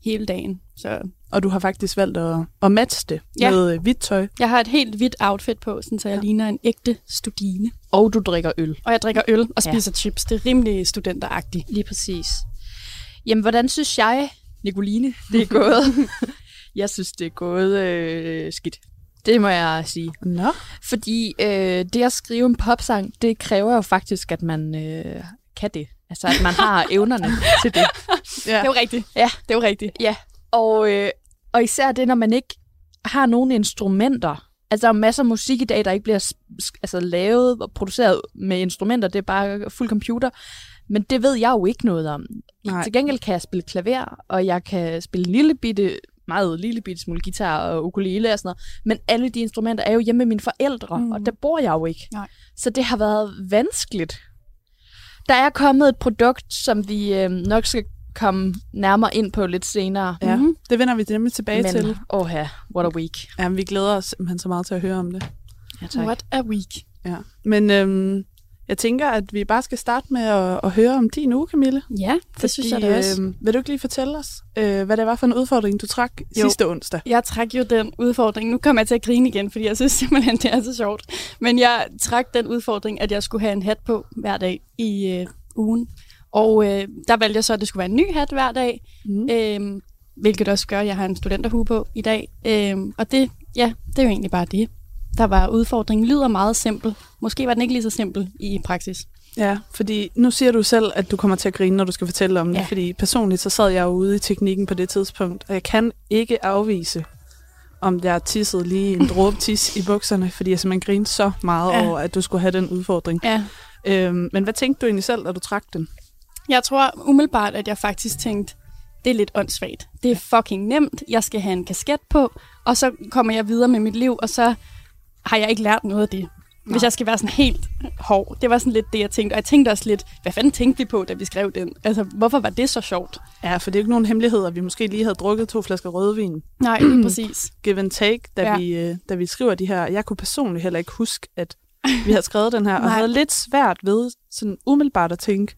J: hele dagen. Så
I: Og du har faktisk valgt at, at matche det
J: Ja.
I: med øh, hvidt tøj.
J: jeg har et helt hvidt outfit på, sådan, så jeg
I: Ja.
J: ja. ligner en ægte studine.
I: Og du drikker øl.
J: Og jeg drikker øl og
K: Ja.
J: spiser ja. chips. Det er rimelig studenteragtigt.
K: Lige præcis. Jamen, hvordan synes jeg, Nicoline, det er gået? jeg synes, det er gået øh, skidt. Det må jeg sige.
I: Nå.
K: Fordi øh, det at skrive en popsang, det kræver jo faktisk, at man øh, kan det. Altså, at man har evnerne til det.
J: Ja. Det er jo rigtigt.
K: Ja.
J: Det er jo rigtigt.
K: Og, øh, og især det, når man ikke har nogen instrumenter. Altså, der er jo masser af musik i dag, der ikke bliver s- s- altså, lavet og produceret med instrumenter. Det er bare fuld computer. Men det ved jeg jo ikke noget om.
I: Nej.
K: Nej. Til gengæld kan jeg spille klaver, og jeg kan spille en lille bitte, meget lille bitte smule guitar og ukulele og sådan noget. Men alle de instrumenter er jo hjemme med mine forældre, mm. og der bor jeg jo ikke.
J: Nej.
K: Så det har været vanskeligt. Der er kommet et produkt, som vi øh, nok skal komme nærmere ind på lidt senere.
I: Ja, mm-hmm. det vender vi nemlig tilbage Men. til.
K: åh ja, what a week.
I: Jamen, vi glæder os simpelthen så meget til at høre om det.
K: Ja,
J: What a week.
I: Ja. Men øhm, jeg tænker, at vi bare skal starte med at, at høre om din uge, Camille.
J: Ja, det Fordi, synes jeg da også.
I: øhm, vil du ikke lige fortælle os, øh, hvad det var for en udfordring, du trak jo. sidste onsdag?
J: Jeg trak jo den udfordring. Nu kommer jeg til at grine igen, fordi jeg synes simpelthen, det er så sjovt. Men jeg trak den udfordring, at jeg skulle have en hat på hver dag i øh, ugen. Og øh, der valgte jeg så, at det skulle være en ny hat hver dag.
I: Mm.
J: Mm. Øh, Øhm, hvilket også gør, at jeg har en studenterhue på i dag. Øh, og det, ja, det er jo egentlig bare det. der var udfordringen, lyder meget simpel. Måske var den ikke lige så simpel i praksis.
I: Ja, fordi nu siger du selv, at du kommer til at grine, når du skal fortælle om det,
J: Ja.
I: fordi personligt så sad jeg jo ude i teknikken på det tidspunkt, og jeg kan ikke afvise, om jeg tissede lige en dråbe tis i bukserne, fordi jeg simpelthen grinede så meget
J: Ja.
I: ja. over, at du skulle have den udfordring.
J: Ja.
I: Øhm, men hvad tænkte du egentlig selv, da du trak den?
J: Jeg tror umiddelbart, at jeg faktisk tænkte, det er lidt åndssvagt. Det er fucking nemt. Jeg skal have en kasket på, og så kommer jeg videre med mit liv, og så har jeg ikke lært noget af det. Hvis jeg skal være sådan helt hård. Det var sådan lidt det, jeg tænkte. Og jeg tænkte også lidt, hvad fanden tænkte vi på, da vi skrev den? Altså, hvorfor var det så sjovt?
I: Ja, for det er jo ikke nogen hemmelighed, at vi måske lige havde drukket to flasker rødvin.
J: Nej, lige præcis.
I: Give and take, da,
J: Ja.
I: ja. vi, øh, da vi skriver de her. Jeg kunne personligt heller ikke huske, at vi havde skrevet den her, og
J: Nej.
I: havde lidt svært ved sådan umiddelbart at tænke,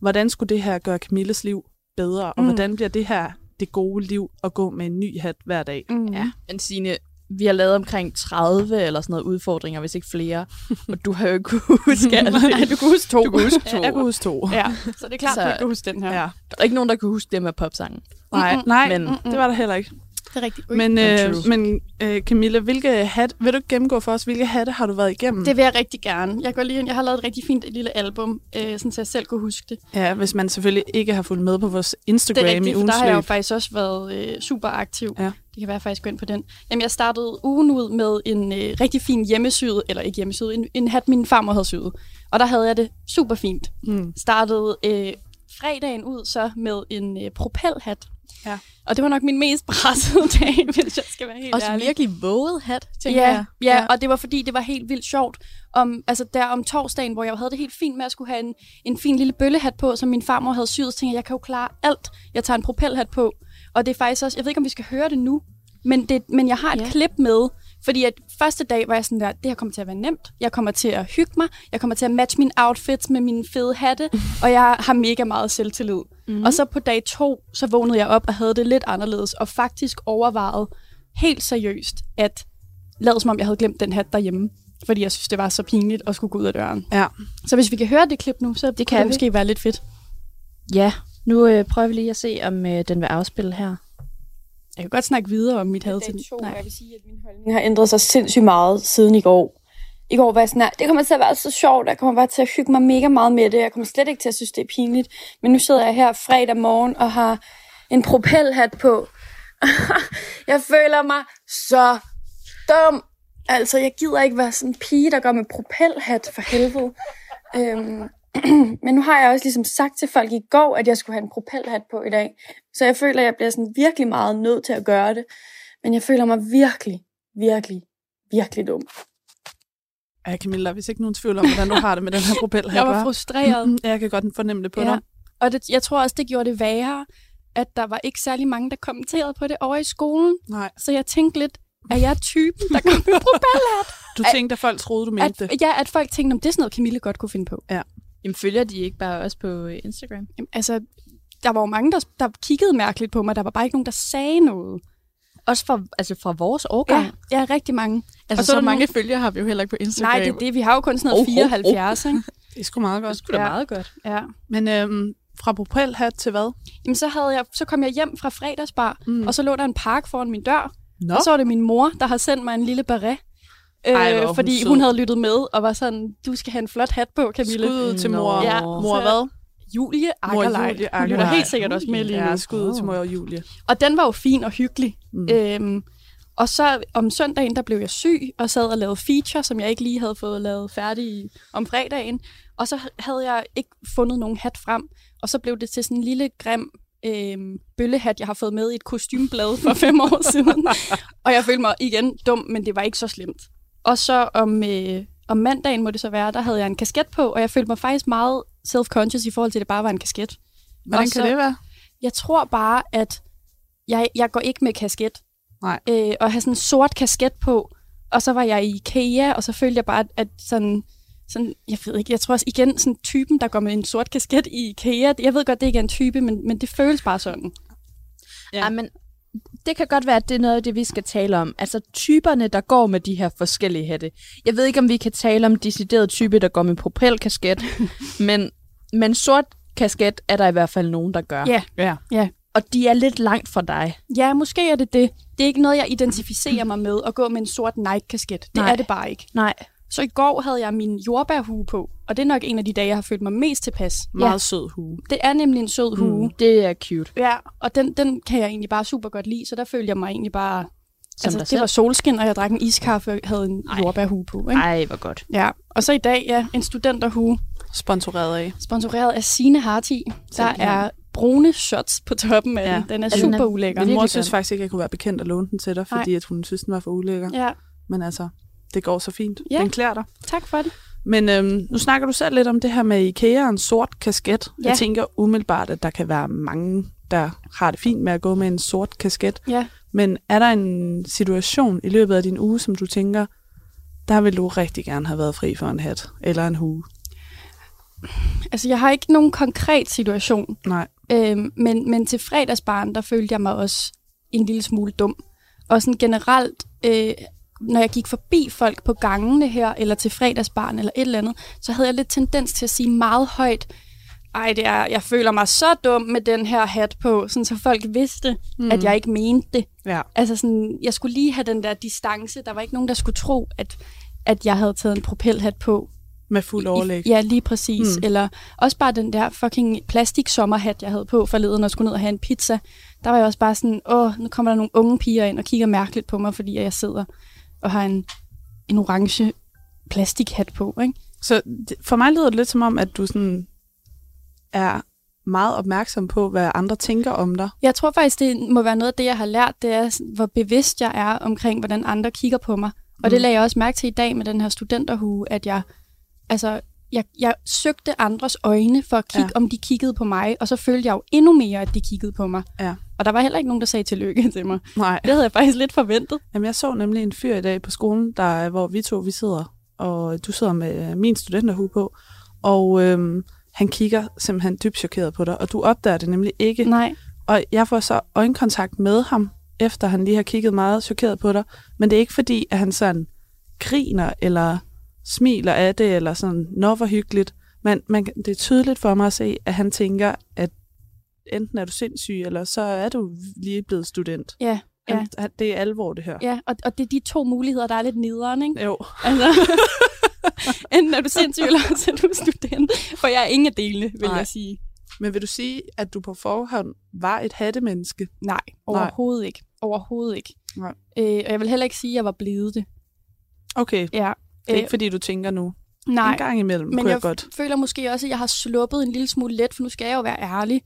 I: hvordan skulle det her gøre Camilles liv bedre, og
J: Mm.
I: mm. hvordan bliver det her det gode liv at gå med en ny hat hver dag?
J: Mm. Ja.
K: Men Signe, vi har lavet omkring 30 eller sådan noget udfordringer, hvis ikke flere. Og du har jo ikke kunne huske alt
J: Nej,
K: det.
J: du kunne huske to.
I: Du kunne huske to.
J: Ja, jeg kunne
I: huske to.
J: Ja, så det er klart,
K: Så-
J: at du ikke kan huske den her.
I: Ja.
K: Der er ikke nogen, der kunne huske det med popsangen.
I: Nej,
J: Mm-mm.
I: nej
K: Men-
I: men, det var der heller ikke.
J: Det er rigtigt. Ui.
I: Men, øh,
K: true.
I: men øh, Camilla, hvilke hat, vil du ikke gennemgå for os, hvilke hatte har du været igennem?
J: Det vil jeg rigtig gerne. Jeg, går lige, ind- jeg har lavet et rigtig fint lille album, øh, sådan, så jeg selv kunne huske det.
I: Ja, hvis man selvfølgelig ikke har fulgt med på vores Instagram
J: det er rigtigt,
I: i
J: for
I: ugens
J: der har jeg jo
I: løb.
J: faktisk også været øh, super aktiv.
I: Ja.
J: Det kan være, at jeg faktisk gå ind på den. Jamen, jeg startede ugen ud med en øh, rigtig fin hjemmesyet, eller ikke hjemmesyet, en, en hat, min farmor havde syet. Og der havde jeg det super fint.
I: Mm.
J: Startede øh, fredagen ud så med en øh, propelhat.
I: Ja.
J: Og det var nok min mest pressede dag, hvis jeg skal være helt
K: Også
J: ærlig.
K: virkelig våget hat, tænker
J: ja,
K: jeg.
J: Ja, og det var fordi, det var helt vildt sjovt. Om, altså der om torsdagen, hvor jeg havde det helt fint med at skulle have en, en fin lille bøllehat på, som min farmor havde syet, så tænkte jeg, jeg kan jo klare alt. Jeg tager en propelhat på. Og det er faktisk også, jeg ved ikke, om vi skal høre det nu, men, det, men jeg har et
K: Ja.
J: klip med, fordi at første dag var jeg sådan der, det her kommer til at være nemt. Jeg kommer til at hygge mig. Jeg kommer til at matche mine outfits med mine fede hatte. og jeg har mega meget selvtillid. Mm.
K: Mhm.
J: Og så på dag to, så vågnede jeg op og havde det lidt anderledes. Og faktisk overvejede helt seriøst, at lad som om, jeg havde glemt den hat derhjemme. Fordi jeg synes, det var så pinligt at skulle gå ud af døren.
I: Ja.
J: Så hvis vi kan høre det klip nu, så det
K: kan
J: kan det
K: vi.
J: måske være lidt fedt.
K: Ja, nu øh, prøver vi lige at se, om øh, den vil afspille her.
J: Jeg kan godt snakke videre om mit had til
L: Nej. Jeg vil sige, at min holdning har ændret sig sindssygt meget siden i går. I går var jeg sådan, "Nej, det kommer til at være så sjovt, jeg kommer bare til at hygge mig mega meget med det, jeg kommer slet ikke til at synes, det er pinligt. Men nu sidder jeg her fredag morgen og har en propelhat på. jeg føler mig så dum. Altså, jeg gider ikke være sådan en pige, der går med propelhat for helvede. Øhm, men nu har jeg også ligesom sagt til folk i går, at jeg skulle have en propelhat på i dag. Så jeg føler, at jeg bliver sådan virkelig meget nødt til at gøre det. Men jeg føler mig virkelig, virkelig, virkelig dum.
I: Ja, Camilla, hvis ikke nogen tvivl om, hvordan du har det med den her propel her.
J: Jeg var frustreret.
I: Ja, jeg kan godt fornemme det på ja.
J: Mm-hmm. Ja.
I: dig.
J: Og det, jeg tror også, det gjorde det værre, at der var ikke særlig mange, der kommenterede på det over i skolen.
I: Nej.
J: Så jeg tænkte lidt, er jeg typen, der kommer med propelhat?
I: Du tænkte, at folk troede, du mente det.
J: At, ja, at folk tænkte, om det er sådan noget, Camille godt kunne finde på.
K: Jamen, følger de ikke bare også på øh, Instagram?
J: Jamen, altså, der var jo mange, der, der kiggede mærkeligt på mig. Der var bare ikke nogen, der sagde noget.
K: Også fra, altså fra vores årgang?
J: Ja, ja rigtig mange.
L: Altså,
J: Og så er
L: så, så
J: der
L: mange
J: nogen-
L: følgere har vi jo heller ikke på Instagram.
J: Nej, det er det. Vi har jo kun sådan noget
K: Oh, oh, oh.
J: 74, ikke?
I: Det er sgu meget godt.
K: Det er da meget godt.
J: Ja.
I: Men øhm, fra propelhat til hvad?
J: Jamen, så, havde jeg, så kom jeg hjem fra fredagsbar, mm.
I: Mm.
J: og så lå der en park foran min dør.
I: Nå.
J: Og så var det min mor, der har sendt mig en lille baret. Øh,
I: Ej, hvor er hun
J: fordi
I: sød.
J: hun havde lyttet med og var sådan, du skal have en flot hat på, Camille.
I: Skud til mor.
J: Ja,
I: Mor
J: så-
I: hvad?
J: Julie
I: Mor
J: Akkerlej.
I: Julie
J: Hun lytter
I: Akkerlej.
J: helt sikkert også med lige nu.
I: Ja, skud til mor og Julie.
J: Og den var jo fin og hyggelig. Mm. Øhm, og så om søndagen, der blev jeg syg og sad og lavede feature, som jeg ikke lige havde fået lavet færdig i- om fredagen. Og så havde jeg ikke fundet nogen hat frem. Og så blev det til sådan en lille grim øhm, bøllehat, jeg har fået med i et kostymblad for fem år siden. og jeg følte mig igen dum, men det var ikke så slemt. Og så om, øh, om mandagen må det så være, der havde jeg en kasket på, og jeg følte mig faktisk meget self-conscious i forhold til, at det bare var en kasket.
I: Hvordan
J: Og
I: kan
J: så-
I: det være?
J: Jeg tror bare, at jeg, jeg går ikke med kasket.
I: Nej.
J: Øh, og have sådan en sort kasket på. Og så var jeg i IKEA, og så følte jeg bare, at, at sådan, sådan, jeg ved ikke, jeg tror også igen, sådan typen, der går med en sort kasket i IKEA, jeg ved godt, det ikke er en type, men, men det føles bare sådan.
K: Ja. men det kan godt være, at det er noget af det, vi skal tale om. Altså typerne, der går med de her forskellige hatte. Jeg ved ikke, om vi kan tale om decideret type, der går med propelkasket, men, men sort kasket er der i hvert fald nogen, der gør.
J: Ja.
I: Ja.
J: Ja,
K: og de er lidt langt fra dig.
J: Ja, måske er det det. Det er ikke noget, jeg identificerer mig med at gå med en sort Nike-kasket. Det
K: Nej.
J: er det bare ikke.
K: Nej.
J: Så i går havde jeg min jordbærhue på, og det er nok en af de dage, jeg har følt mig mest tilpas.
I: Meget sød hue.
J: Det er nemlig en
K: Mm.
J: sød hue.
K: Det er cute.
J: Ja, og den, den kan jeg egentlig bare super godt lide, så der følte jeg mig egentlig bare...
K: Som dig
J: altså,
K: selv.
J: det var solskin, og jeg drak en iskaffe og havde en jordbærhue på. Ikke?
K: Ej, hvor godt.
J: Ja, og så i dag, ja, en studenterhue.
I: Sponsoreret af.
J: Sponsoreret af Sine Harti. Der
I: Simpelthen.
J: er brune shots på toppen af ja. den. Den er super ulækker.
I: Min mor synes faktisk ikke, at jeg kunne være bekendt at låne den til dig,
J: Nej.
I: fordi at hun synes, den var for ulækker.
J: Ja.
I: Men altså, det går så fint.
J: Ja.
I: Den klæder dig.
J: Tak for det.
I: Men øhm, nu snakker du selv lidt om det her med IKEA og en sort kasket.
J: Ja.
I: Jeg tænker umiddelbart, at der kan være mange, der har det fint med at gå med en sort kasket.
J: Ja.
I: Men er der en situation i løbet af din uge, som du tænker, der vil du rigtig gerne have været fri for en hat eller en hue?
J: Altså, jeg har ikke nogen konkret situation.
I: Nej.
J: Øhm, men, men til fredagsbaren, der følte jeg mig også en lille smule dum. Og sådan generelt, øh, når jeg gik forbi folk på gangene her, eller til fredagsbaren, eller et eller andet, så havde jeg lidt tendens til at sige meget højt, ej, det er, jeg føler mig så dum med den her hat på, sådan så folk vidste,
I: Mm.
J: mm. at jeg ikke mente det.
I: Ja.
J: Altså sådan, jeg skulle lige have den der distance. Der var ikke nogen, der skulle tro, at, at jeg havde taget en propelhat på.
I: Med fuld overlæg.
J: I, ja, lige præcis.
I: Mm.
J: Mm. Eller også bare den der fucking plastik sommerhat, jeg havde på forleden og skulle ned og have en pizza. Der var jeg også bare sådan, åh, nu kommer der nogle unge piger ind og kigger mærkeligt på mig, fordi jeg sidder og har en, en orange plastikhat på, ikke?
I: Så det- for mig lyder det lidt som om, at du sådan er meget opmærksom på, hvad andre tænker om dig.
J: Jeg tror faktisk, det må være noget af det, jeg har lært, det er, sådan, hvor bevidst jeg er omkring, hvordan andre kigger på mig. Og det
I: Mm.
J: lagde jeg også mærke til i dag med den her studenterhue, at jeg, altså, jeg, jeg søgte andres øjne for at kigge,
I: Ja.
J: ja. om de kiggede på mig, og så følte jeg jo endnu mere, at de kiggede på mig.
I: Ja.
J: Og der var heller ikke nogen, der sagde tillykke til mig.
I: Nej.
J: Det havde jeg faktisk lidt forventet.
I: Jamen, jeg så nemlig en fyr i dag på skolen, der, er- hvor vi to vi sidder, og du sidder med øh, min studenterhue på, og øhm, han kigger simpelthen dybt chokeret på dig, og du opdager det nemlig ikke.
J: Nej.
I: Og jeg får så øjenkontakt med ham, efter han lige har kigget meget chokeret på dig, men det er ikke fordi, at han sådan griner eller smiler af det, eller sådan, nå hvor hyggeligt, men man, kan- det er tydeligt for mig at se, at han tænker, at enten er du sindssyg, eller så er du lige blevet student.
J: Ja,
I: Han,
J: ja.
I: Han, det er alvor, det her.
J: Ja, og, og det er de to muligheder, der er lidt nederen, ikke?
I: Jo.
J: Altså, enten er du sindssyg, eller så er du student. For jeg er ingen af delene, vil
I: Nej.
J: Nej. jeg sige.
I: Men vil du sige, at du på forhånd var et hattemenneske?
J: Nej, overhovedet Nej. ikke. Overhovedet ikke.
I: Nej.
J: Øh, og jeg vil heller ikke sige, at jeg var blevet det.
I: Okay,
J: Ja.
I: det er ikke fordi, du tænker nu.
J: Øh, nej.
I: En gang imellem
J: Men
I: kunne jeg,
J: jeg
I: jeg godt.
J: føler måske også, at jeg har sluppet en lille smule let, for nu skal jeg jo være ærlig.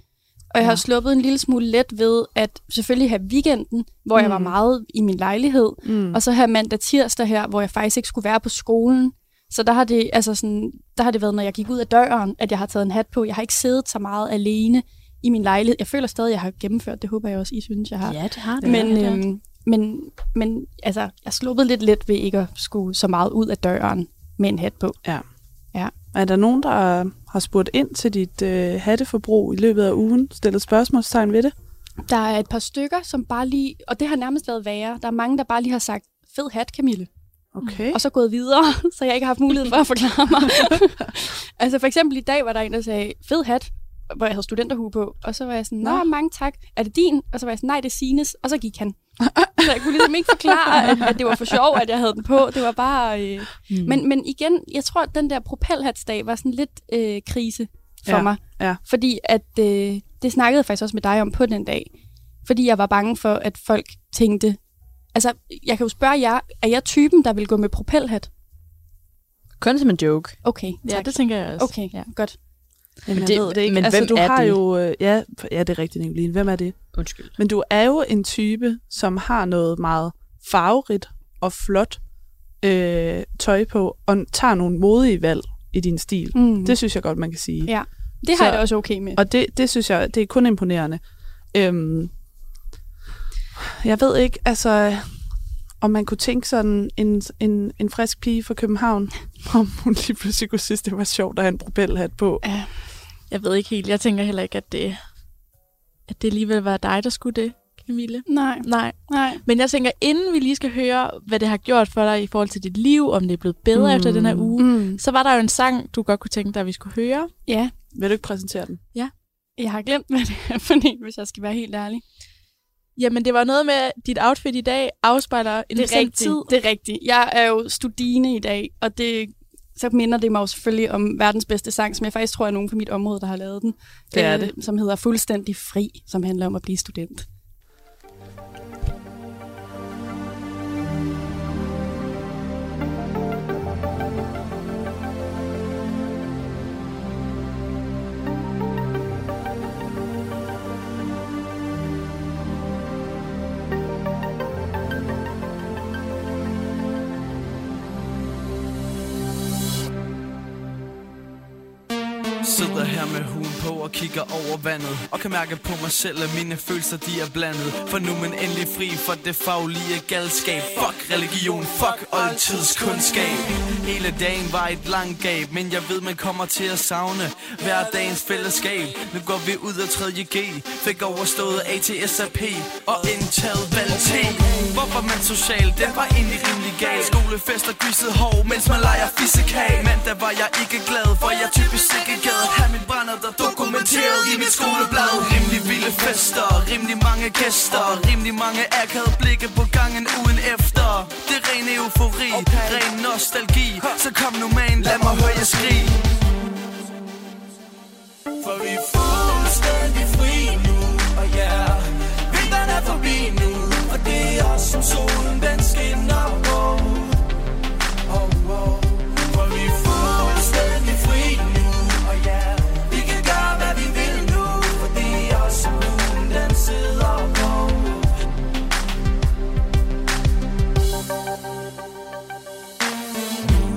J: Og jeg har sluppet en lille smule let ved at selvfølgelig have weekenden, hvor mm. jeg var
I: Mm.
J: meget i min lejlighed,
I: Mm.
J: og så have mandag tirsdag her, hvor jeg faktisk ikke skulle være på skolen. Så der har, det, altså sådan, der har det været, når jeg gik ud af døren, at jeg har taget en hat på. Jeg har ikke siddet så meget alene i min lejlighed. Jeg føler stadig, at jeg har gennemført det. håber jeg også, I synes, jeg har.
K: Ja, det har det.
J: Men,
K: Ja, det har
J: øhm, men, men altså, jeg er sluppet lidt let ved ikke at skulle så meget ud af døren med en hat på.
I: Ja.
J: Ja.
I: Er der nogen, der har spurgt ind til dit øh, hatteforbrug i løbet af ugen? Stillet spørgsmålstegn ved det?
J: Der er et par stykker, som bare lige, og det har nærmest været værre, der er mange, der bare lige har sagt, fed hat, Camille,
I: Okay.
J: og så gået videre, så jeg ikke har haft mulighed for at forklare mig. altså for eksempel i dag var der en, der sagde, fed hat, hvor jeg havde studenterhue på, og så var jeg sådan,
I: Nå.
J: nå, mange tak, er det din? Og så var jeg sådan, nej, det er Sines, og så gik han. så jeg kunne ligesom ikke forklare, at, at det var for sjov, at jeg havde den på. Det var bare... Øh... Mm.
I: Hmm.
J: Men, men igen, jeg tror, at den der propelhatsdag var sådan lidt øh, krise for
I: Ja.
J: mig.
I: Ja.
J: Fordi at, øh, det snakkede jeg faktisk også med dig om på den dag. Fordi jeg var bange for, at folk tænkte... Altså, jeg kan jo spørge jer, er jeg typen, der vil gå med propelhat?
K: Kun som en joke.
J: Okay,
K: Ja,
J: tak.
K: det tænker jeg også.
J: Okay,
K: Ja.
J: godt.
I: Jamen,
K: det-
I: jeg ved det ikke.
K: men
I: altså,
K: hvem
I: du
K: er
I: har
K: det?
I: jo... Øh, ja, ja, det er rigtigt, Nicoline. Hvem er det?
K: Undskyld.
I: Men du er jo en type, som har noget meget farverigt og flot øh, tøj på, og tager nogle modige valg i din stil.
J: Mm.
I: Det synes jeg godt, man kan sige.
J: Ja, det har
I: Så-
J: jeg det også okay med.
I: Og det, det synes jeg, det er kun imponerende. Øhm, jeg ved ikke, altså, om man kunne tænke sådan en, en, en frisk pige fra København, om hun lige pludselig kunne synes, det var sjovt at have en propelhat på.
J: Ja.
K: Jeg ved ikke helt. Jeg tænker heller ikke, at det, at det alligevel var dig, der skulle det, Camille.
J: Nej,
K: Nej.
J: nej.
K: Men jeg tænker, inden vi lige skal høre, hvad det har gjort for dig i forhold til dit liv, om det er blevet bedre mm. efter den her uge,
J: Mm.
K: så var der jo en sang, du godt kunne tænke dig, at vi skulle høre.
J: Ja,
I: Vil du ikke præsentere den?
K: Ja.
J: Jeg har glemt, hvad det er for en, hvis jeg skal være helt ærlig.
I: Jamen, det var noget med, at dit outfit i dag afspejler en
J: det er
I: bestemt
J: rigtigt,
I: tid.
J: Det er rigtigt. Jeg er jo studine i dag, og det, så minder det mig jo selvfølgelig om verdens bedste sang, som jeg faktisk tror er nogen på mit område, der har lavet den.
I: Det er
J: Øh,
I: det.
J: Som hedder Fuldstændig Fri, som handler om at blive student.
M: Sidder her med huden på og kigger over vandet Og kan mærke på mig selv, at mine følelser de er blandet For nu er man endelig fri for det faglige galskab Fuck religion, fuck oldtidskundskab Hele dagen var et langt gab Men jeg ved, man kommer til at savne hverdagens fællesskab Nu går vi ud af 3.G Fik overstået ATSAP og indtaget valgt Hvorfor man social, den var egentlig rimelig gal Skolefester, griset hår, mens man leger fissekag Mandag var jeg ikke glad, for jeg typisk ikke gad Have min brænder, der dokumenteret i mit skoleblad Rimelig vilde fester, rimelig mange gæster Rimelig mange akavede blikke på gangen ugen efter Det er ren eufori, ren nostalgi Så kom nu man, lad mig høre jer skrige For vi er fuldstændig fri nu, og yeah Vinteren er forbi nu, og det er os som solen den skinner på Oh, oh. For vi er fuldstændig fri nu, og ja Vi kan gøre hvad vi vil nu, for det er os som lunen den sidder på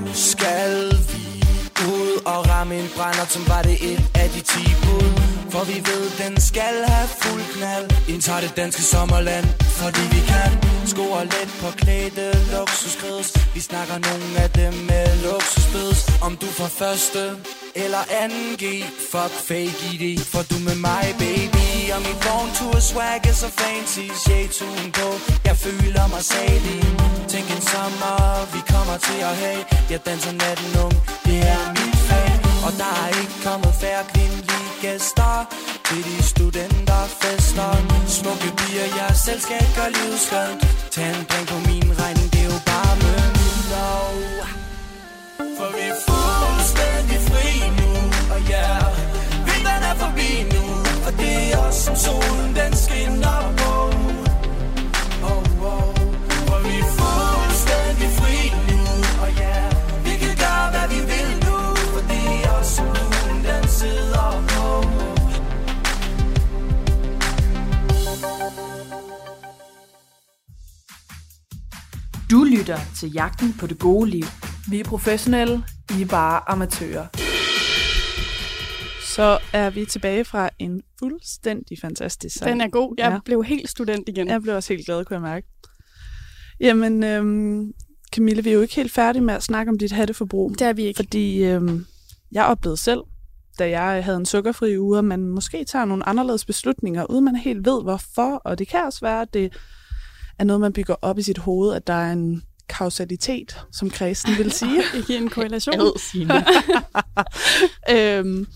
M: Nu skal vi ud og ramme en brænder, som var det et af de ti bud. For vi ved, den skal have fuld knald. Indtager det danske sommerland, fordi vi kan. Skoer let på klæde luksuskreds. Vi snakker nogle af dem med luksusbeds. Om du får første eller anden G. Fuck fake ID, for du med mig, baby. Og min vogntur swag er så fancy. Shade på, jeg føler mig salig. Tænk en sommer, vi kommer til at have. Jeg danser natten ung, det er mit fag. Og der er ikke kommet færre kvindelige gæster til de studenterfester. Smukke piger, jeg selv skal gøre livet skønt. Tag en drink på min regning, det er jo bare møntlov. For vi er fuldstændig fri nu, og ja, yeah. vinteren er forbi nu. Og det er os som solen, den skinner på. Oh, oh. For vi er fuldstændig fri nu, og ja, vi kan gøre hvad vi vil nu, for det er os som lunen, den sidder på.
N: Du lytter til Jagten på det gode liv.
I: Vi er professionelle, I er bare amatører. Så er vi tilbage fra en fuldstændig fantastisk sang.
J: Den er god. Jeg blev helt student igen.
I: Jeg blev også helt glad, kunne jeg mærke. Jamen, øhm, Camille, vi er jo ikke helt færdige med at snakke om dit hatteforbrug. Det er vi ikke. Fordi øhm, jeg oplevede selv, da jeg havde en sukkerfri uge, at man måske tager nogle anderledes beslutninger, uden man helt ved hvorfor. Og det kan også være, at det er noget, man bygger op i sit hoved, at der er en kausalitet, som kristen vil sige.
J: Ikke en korrelation.
I: Ad, Signe. øhm,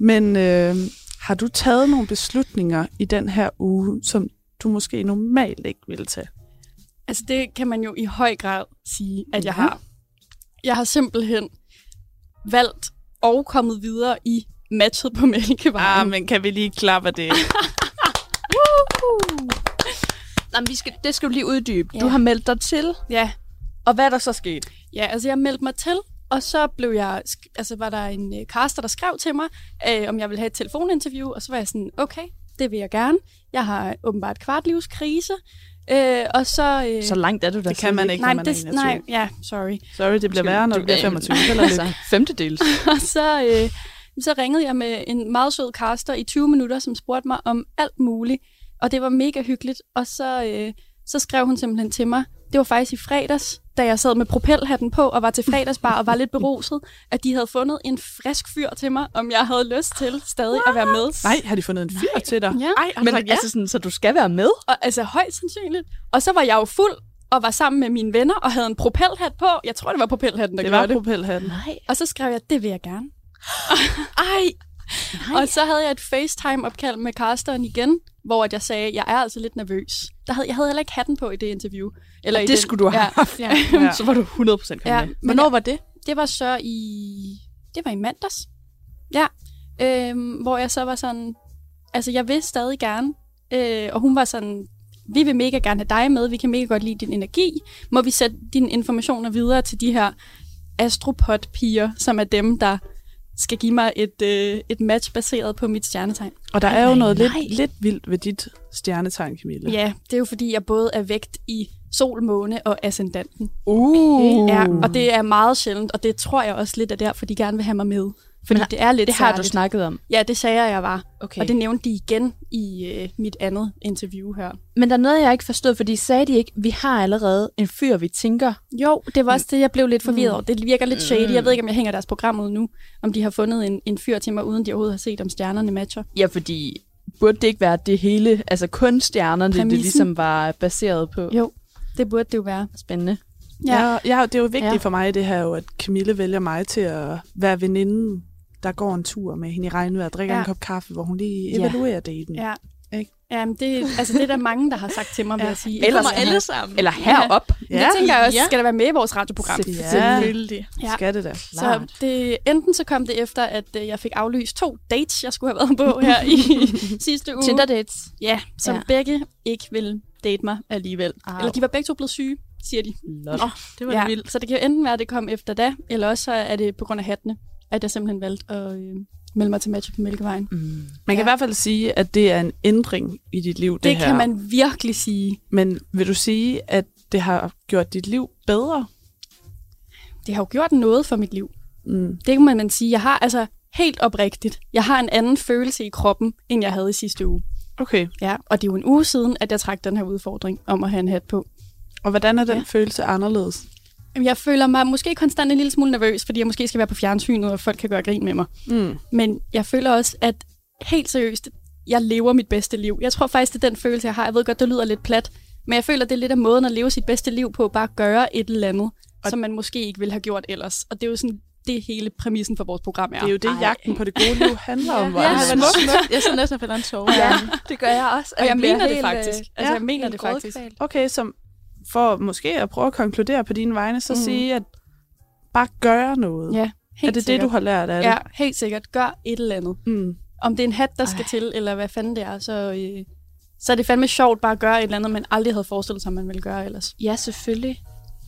I: men øh, har du taget nogle beslutninger i den her uge, som du måske normalt ikke ville tage?
J: Altså det kan man jo i høj grad sige, at jeg har. Jeg har simpelthen valgt og kommet videre i matchet på mælkevejen.
I: Ah, men kan vi lige klappe det?
K: Nå, men vi skal, det skal du lige uddybe.
J: Ja.
K: Du har meldt dig til.
J: Ja.
K: Og hvad er der så sket?
J: Ja, altså jeg meldte mig til, og så blev jeg, sk- altså var der en øh, caster, der skrev til mig, øh, om jeg ville have et telefoninterview, og så var jeg sådan, okay, det vil jeg gerne. Jeg har åbenbart kvartlivskrise, øh, og så... Øh,
K: Så langt er du da
I: Det kan man ikke,
J: nej,
I: når man
J: det,
I: er 21.
J: Nej, ja, sorry.
I: Sorry, det Altså, bliver værre, når du bliver 25. Held og lykke.
K: Femtedels.
J: og så, øh, så ringede jeg med en meget sød caster i 20 minutter, som spurgte mig om alt muligt. Og det var mega hyggeligt. Og så, øh, så skrev hun simpelthen til mig, det var faktisk i fredags, da jeg sad med propelhatten på og var til fredagsbar og var lidt beruset, at de havde fundet en frisk fyr til mig, om jeg havde lyst til stadig What? at være med.
I: Nej, har de fundet en fyr Nej. til dig?
J: Ja. Ej,
K: Men altså sådan, så du skal være med?
J: Og, altså højst sandsynligt. Og så var jeg jo fuld og var sammen med mine venner og havde en propelhat på. Jeg tror, det var propelhatten, der
I: Det
J: gjorde
I: var
J: det.
I: propelhatten.
J: Og så skrev jeg, det vil jeg gerne.
K: Ej,
J: Og så havde jeg et FaceTime-opkald med Carsten igen, hvor at jeg sagde, at jeg er altså lidt nervøs. Der havde, jeg havde heller ikke hatten på i det interview. Eller
I: Og
J: i
I: det
J: den-
I: skulle du have haft.
J: Ja.
I: Ja.
J: Ja.
I: Så var du 100% kommet med.
J: Hvornår var det? Det var så i... Det var i mandags. Ja. Øhm, hvor jeg så var sådan... Altså, jeg vil stadig gerne. Øh, og hun var sådan... Vi vil mega gerne have dig med. Vi kan mega godt lide din energi. Må vi sætte dine informationer videre til de her astropod-piger, som er dem, der skal give mig et, øh, et match baseret på mit stjernetegn.
I: Og der er jo
J: Nej,
I: noget
J: nej,
I: lidt, lidt vildt ved dit stjernetegn, Camilla.
J: Ja, det er jo fordi, jeg både er vægt i sol, måne og ascendanten.
I: Uh.
J: Ja, og det er meget sjældent, og det tror jeg også lidt er derfor, de gerne vil have mig med. Fordi
K: Men
J: Men, det er lidt
K: det har du
J: særligt.
K: snakket om.
J: Ja, det sagde jeg, jeg var.
K: Okay.
J: Og det nævnte de igen i øh, mit andet interview her.
K: Men der er noget, jeg ikke forstod, fordi sagde de ikke, vi har allerede en fyr, vi tænker.
J: Jo, det var også det, jeg blev lidt forvirret
K: Mm.
J: over. Det virker lidt shady. Jeg
K: Mm.
J: ved ikke, om jeg hænger deres program ud nu, om de har fundet en, en fyr til mig, uden de overhovedet har set, om stjernerne matcher.
K: Ja, fordi burde det ikke være det hele, altså kun stjernerne, det, det
J: Præmissen?
K: ligesom var baseret på?
J: Jo, det burde det jo være.
K: Spændende.
I: Ja. Jeg, jeg, det er jo vigtigt
K: Ja.
I: ja. for mig, det her jo, at Camille vælger mig til at være veninden, der går en tur med hende i regnvejr, drikker ja.
J: Ja.
I: en kop kaffe, hvor hun lige
J: Ja.
I: evaluerer daten.
J: Ja.
I: Ikke?
J: Jamen, det, altså, det er der mange, der har sagt til mig, vil jeg sige. I
K: Eller
J: kommer
K: sådan her. Eller herop.
J: Ja.
K: Ja.
J: Det tænker jeg også,
K: Ja.
J: skal der være med i vores radioprogram.
I: Selvfølgelig. Selvfølgelig. Skal det da.
J: Så
I: Klart.
J: det, enten så kom det efter, at øh, jeg fik aflyst to dates, jeg skulle have været på her i sidste uge.
K: Tinder dates.
J: Ja, som
K: Ja.
J: ja. begge ikke ville date mig alligevel.
K: Au.
J: Eller de var begge to blevet syge, siger de.
K: Lol. Nå, det var da
J: ja.
K: vildt.
J: Så det kan jo enten være, at det kom efter da, eller også så er det på grund af hattene, at jeg simpelthen valgte at øh, melde mig til match på Mælkevejen.
I: Mm. Man kan i hvert fald sige, at det er en ændring i dit liv, det,
J: Det
I: her.
J: kan man virkelig sige.
I: Men vil du sige, at det har gjort dit liv bedre?
J: det har jo gjort noget for mit liv.
I: Mm.
J: Det kan man man sige. Jeg har altså helt oprigtigt, jeg har en anden følelse i kroppen, end jeg havde i sidste uge.
I: Okay.
J: Ja, og det er jo en uge siden, at jeg trak den her udfordring om at have en hat på.
I: Og hvordan er den
J: Ja.
I: følelse anderledes?
J: Jamen, Jeg føler mig måske konstant en lille smule nervøs, fordi jeg måske skal være på fjernsynet, og folk kan gøre grin med mig.
I: Mm.
J: Men jeg føler også, at helt seriøst, jeg lever mit bedste liv. Jeg tror faktisk, det er den følelse, jeg har. Jeg ved godt, det lyder lidt plat, men jeg føler, det er lidt af måden at leve sit bedste liv på, bare at gøre et eller andet, og som man måske ikke ville have gjort ellers. Og det er jo sådan, det hele præmissen for vores program er.
I: Det er jo det, jagten på det gode liv handler om. hvor
J: Ja,
I: er det
J: ja,
I: smukt.
J: smukt.
I: Jeg sidder næsten og falder en tårer.
J: Oh, Ja,
K: det gør jeg øh, også.
J: Og jeg mener det faktisk. Altså, jeg mener det faktisk.
I: Okay, så for måske at prøve at konkludere på dine vegne, så mm.
J: Mm.
I: sige, at bare gøre noget.
J: Ja, helt
I: er det
J: sikkert.
I: det, du har lært af
J: Ja,
I: det?
J: helt sikkert. Gør et eller andet.
I: Mm.
J: Om det er en hat, der skal til, eller hvad fanden det er, så, øh, så er det fandme sjovt bare at gøre et eller andet, man aldrig havde forestillet sig, man ville gøre ellers.
K: Ja, selvfølgelig.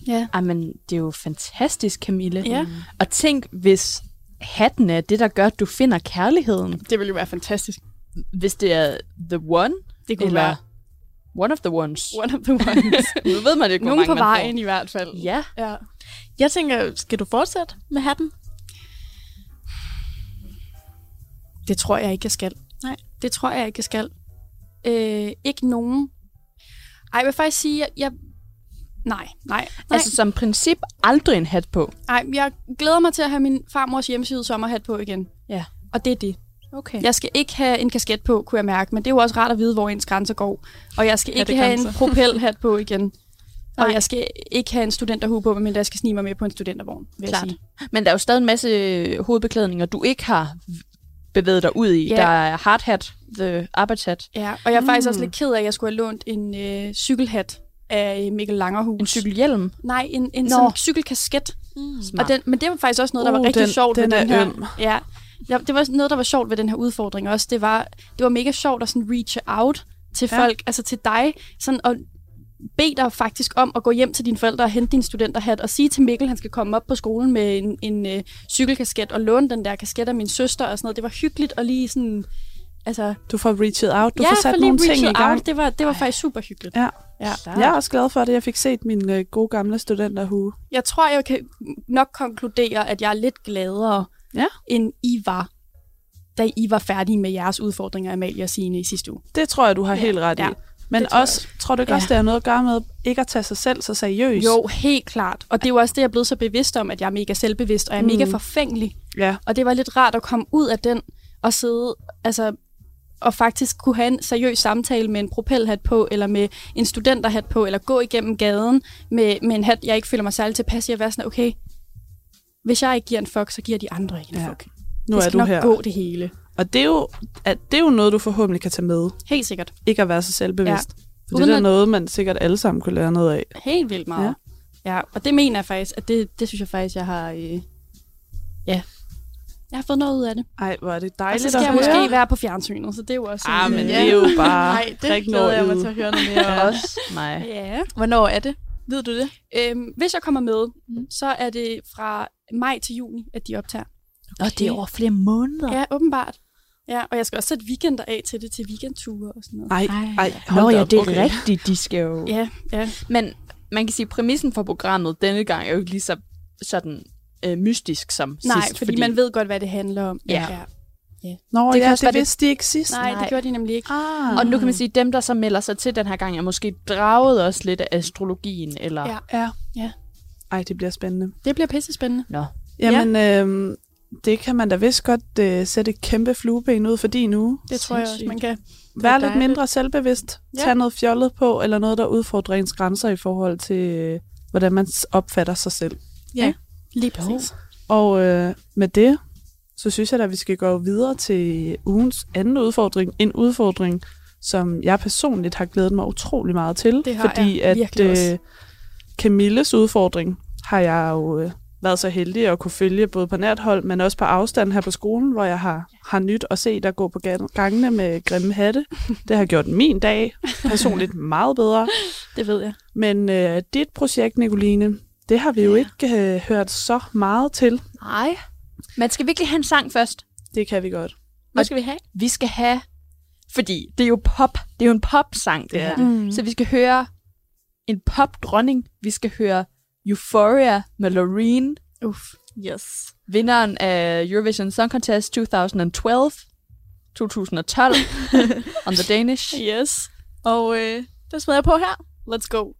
J: Ja.
K: Ej, men det er jo fantastisk, Camille.
J: Ja.
K: Og tænk, hvis hatten er det, der gør, at du finder kærligheden.
J: Det ville jo være fantastisk.
K: Hvis det er the one.
J: Det kunne
K: eller
J: være.
K: One of the ones.
J: One of the ones.
K: nu ved man ikke, hvor mange
J: Nogen på
K: man får.
J: vejen i hvert fald.
K: Ja.
J: ja.
N: Jeg tænker, skal du fortsætte med hatten?
J: Det tror jeg ikke, jeg skal.
N: Nej.
J: Det tror jeg ikke, jeg skal. Øh, ikke nogen. Ej, jeg vil faktisk sige, jeg... jeg nej, nej, nej.
K: Altså som princip aldrig en hat på.
J: Ej, jeg glæder mig til at have min farmors hjemmeside sommerhat på igen.
K: Ja.
J: Og det er det.
K: Okay.
J: Jeg skal ikke have en kasket på, kunne jeg mærke, men det er jo også rart at vide, hvor ens grænser går. Og jeg skal
K: Ja,
J: ikke
K: det
J: have en
K: grænser.
J: propelhat på igen. Og
K: Nej.
J: jeg skal ikke have en studenterhue på, men jeg skal snige mig med på en studentervogn, vil
K: Klart.
J: jeg sige.
K: Men der er jo stadig en masse øh, hovedbeklædninger, du ikke har bevæget dig ud i.
J: Ja.
K: Der er hard hat, the arbejdshat.
J: Ja, og jeg er mm. faktisk også
K: Mm.
J: lidt ked af, at jeg skulle have lånt en øh, cykelhat af Mikkel Langerhus. En
K: cykelhjelm?
J: Nej, en, en
K: Nå.
J: sådan cykelkasket.
K: Mm.
J: Og den, men det var faktisk også noget, der var
K: Uh,
J: rigtig
K: den-
J: sjovt
K: den
J: ved den
K: er
J: her.
K: øm.
J: Ja, Ja, det var noget, der var sjovt ved den her udfordring også. Det var, det var mega sjovt at sådan reach out til
K: Ja.
J: folk, altså til dig, sådan at bede dig faktisk om at gå hjem til dine forældre og hente din studenterhat og sige til Mikkel, han skal komme op på skolen med en, en øh, cykelkasket og låne den der kasket af min søster og sådan noget. Det var hyggeligt og lige sådan... Altså,
I: Du får reached out, du
J: ja,
I: får sat
J: for lige
I: nogle ting
J: reached
I: i gang.
J: Out, det var, det var faktisk super hyggeligt.
I: Ja.
J: ja.
I: Jeg er også glad for det. Jeg fik set min øh, gode gamle studenterhue.
J: Jeg tror, jeg kan nok konkludere, at jeg er lidt gladere,
I: ja.
J: end I var, da I var færdige med jeres udfordringer, Amalie og Signe, i sidste uge.
I: Det tror jeg, du har helt ret i.
J: Ja,
I: Men
J: det tror jeg
I: også, tror du ikke
J: Ja.
I: også, det har noget at gøre med ikke at tage sig selv så seriøst?
J: Jo, helt klart. Og det er jo også det, jeg er blevet så bevidst om, at jeg er mega selvbevidst, og jeg er mega
I: Mm.
J: forfængelig.
I: Ja.
J: Og det var lidt rart at komme ud af den og sidde, altså og faktisk kunne have en seriøs samtale med en propelhat på, eller med en studenterhat på, eller gå igennem gaden med, med en hat, jeg ikke føler mig særlig tilpas i, at være sådan, okay, hvis jeg ikke giver en fuck, så giver de andre ikke en
I: Ja.
J: fuck.
I: Nu
J: det
I: er
J: skal
I: du
J: nok
I: her.
J: gå det hele.
I: Og det er, jo, at det er jo noget, du forhåbentlig kan tage med.
J: Helt sikkert.
I: Ikke at være så selvbevidst.
J: Ja.
I: Ja. For
J: Uden
I: det er
J: at-
I: at... noget, man sikkert alle sammen kunne lære noget af.
J: Helt vildt meget. Ja. ja og det mener jeg faktisk, at det, det synes jeg faktisk, jeg har... Øh, ja, jeg har fået noget ud af det.
I: Ej, hvor er det
J: og
I: dejligt
J: så skal
I: at
J: jeg
I: høre.
J: måske være på fjernsynet, så det er jo også...
I: Ah,
J: en,
I: men
J: øh,
I: det er jo bare
J: Ej, det
I: prik
J: glæder jeg
I: noget
J: mig
I: ud.
J: til at høre noget mere
I: Ja.
J: om.
I: Også mig.
J: Ja.
I: Hvornår er det?
J: Ved du det? Øhm, hvis jeg kommer med,
K: Mhm.
J: mm. så er det fra maj til juni, at de optager.
K: Nå, det er over flere måneder.
J: Ja, åbenbart. Ja, og jeg skal også sætte weekender af til det, til weekendture og sådan noget.
I: Ej, ej,
K: Nå
I: hold da
K: ja,
I: op,
K: det er
I: okay.
K: rigtigt, de skal jo...
J: Ja, ja.
K: Men man kan sige, at præmissen for programmet denne gang er jo ikke lige så sådan øh, mystisk som
J: Nej,
K: sidst.
J: fordi, man ved godt, hvad det handler om.
K: Ja.
J: ja.
I: Nå,
K: Det
I: det
K: kan
I: ja,
K: også
I: det
K: være, det-
I: vidste de ikke sidst.
J: Nej, det gjorde de nemlig ikke.
I: Ah.
K: Og nu kan man sige, at dem, der så melder sig til den her gang, er måske draget også lidt af astrologien. Eller...
J: Ja.
I: Ja.
J: ja.
I: Ej, det bliver spændende.
J: Det bliver pisse spændende.
K: Nå.
I: Jamen, ja. øhm, det kan man da vist godt øh, sætte et kæmpe flueben ud for din uge.
J: Det tror jeg også, man kan. Det er
I: Vær lidt
J: dejligt.
I: mindre selvbevidst.
J: Ja.
I: Ja. Tag noget fjollet på, eller noget, der udfordrer ens grænser i forhold til, øh, hvordan man s- opfatter sig selv.
J: Ja, lige præcis.
I: Og øh, med det, så synes jeg da, at vi skal gå videre til ugens anden udfordring. En udfordring, som jeg personligt har glædet mig utrolig meget til.
J: Det har
I: fordi
J: jeg
I: at øh,
J: virkelig også.
I: Camilles udfordring har jeg jo øh, været så heldig at kunne følge både på nært hold, men også på afstand her på skolen, hvor jeg har, har nyt at se der gå på gan- gangene med grimme hatte. Det har gjort min dag personligt meget bedre.
J: Det ved jeg.
I: Men øh, dit projekt, Nicoline, det har vi jo ikke øh, hørt så meget til.
K: Nej. Man skal virkelig have en sang først.
I: Det kan vi godt.
K: Hvad skal vi have? Vi skal have... Fordi det er jo pop. Det er jo en popsang, det
I: Ja.
K: her.
I: Mm.
K: Så vi skal høre en popdronning. Vi skal høre Euphoria med Loreen.
J: Uff.
K: Yes. Vinderen af Eurovision Song Contest 2012. 2012. on the Danish.
J: Yes. Og øh, det smider jeg på her. Let's go.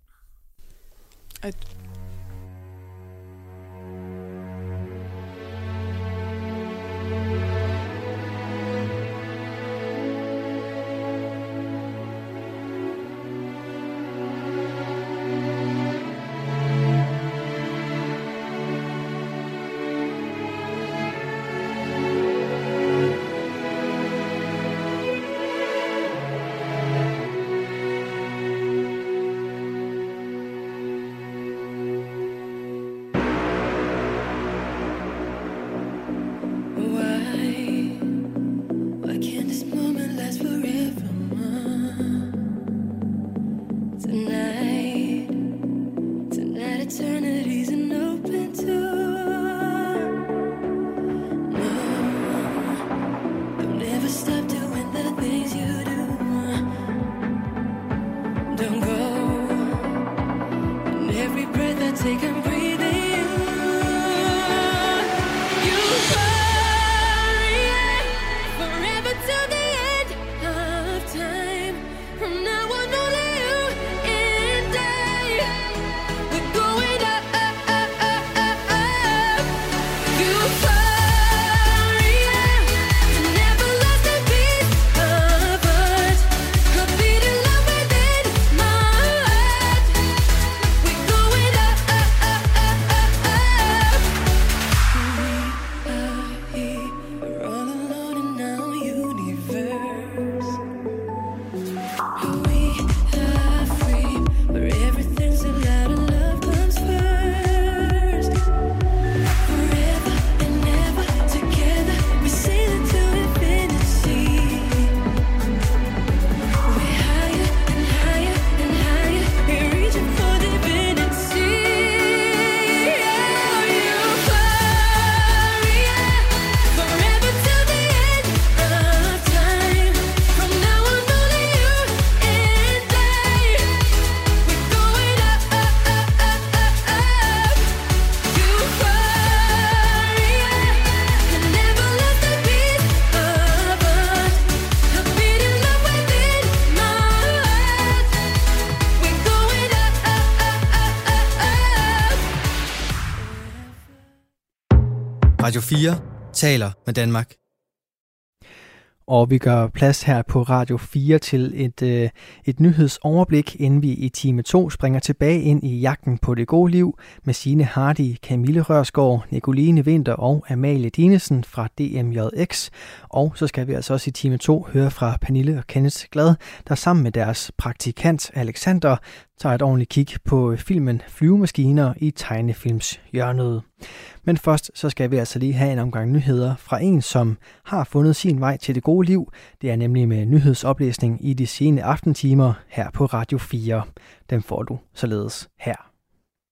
O: Why? Why can't this moment last forever? Tonight, tonight eternity's an open door. No, don't ever stop doing the things you do. Don't go. In every breath I take, I'm breathing. You Forever till the end of time. From now on, only you and I. We're going up, up, up, up, up, up. Euphoria, an everlasting piece of us. A beating love within my heart. We're going up, up, up, up, up, up. We are here. We're all alone in our universe. We are free, where everything's allowed and love comes first. Forever and ever together, we sail into infinity. We're higher and higher and higher, we're reaching for divinity. Euphoria. Forever till the end of time. From now on, only you and I. We're going up, up, up, up, up, up. Euphoria, an everlasting piece of us. A beating love within my heart. We're going up, up, up, up, up, up.
H: Radio 4 taler med Danmark.
B: Og vi gør plads her på Radio 4 til et, øh, et nyhedsoverblik, inden vi i time 2 springer tilbage ind i jagten på det gode liv med Signe Hardy, Camille Rørsgaard, Nicoline Vinter og Amalie Dinesen fra DMJX. Og så skal vi altså også i time 2 høre fra Pernille og Kenneth Glad, der sammen med deres praktikant Alexander tager et ordentligt kig på filmen Flyvemaskiner i tegnefilms hjørnet. Men først så skal vi altså lige have en omgang nyheder fra en, som har fundet sin vej til det gode liv. Det er nemlig med nyhedsoplæsning i de sene aftentimer her på Radio 4. Den får du således her.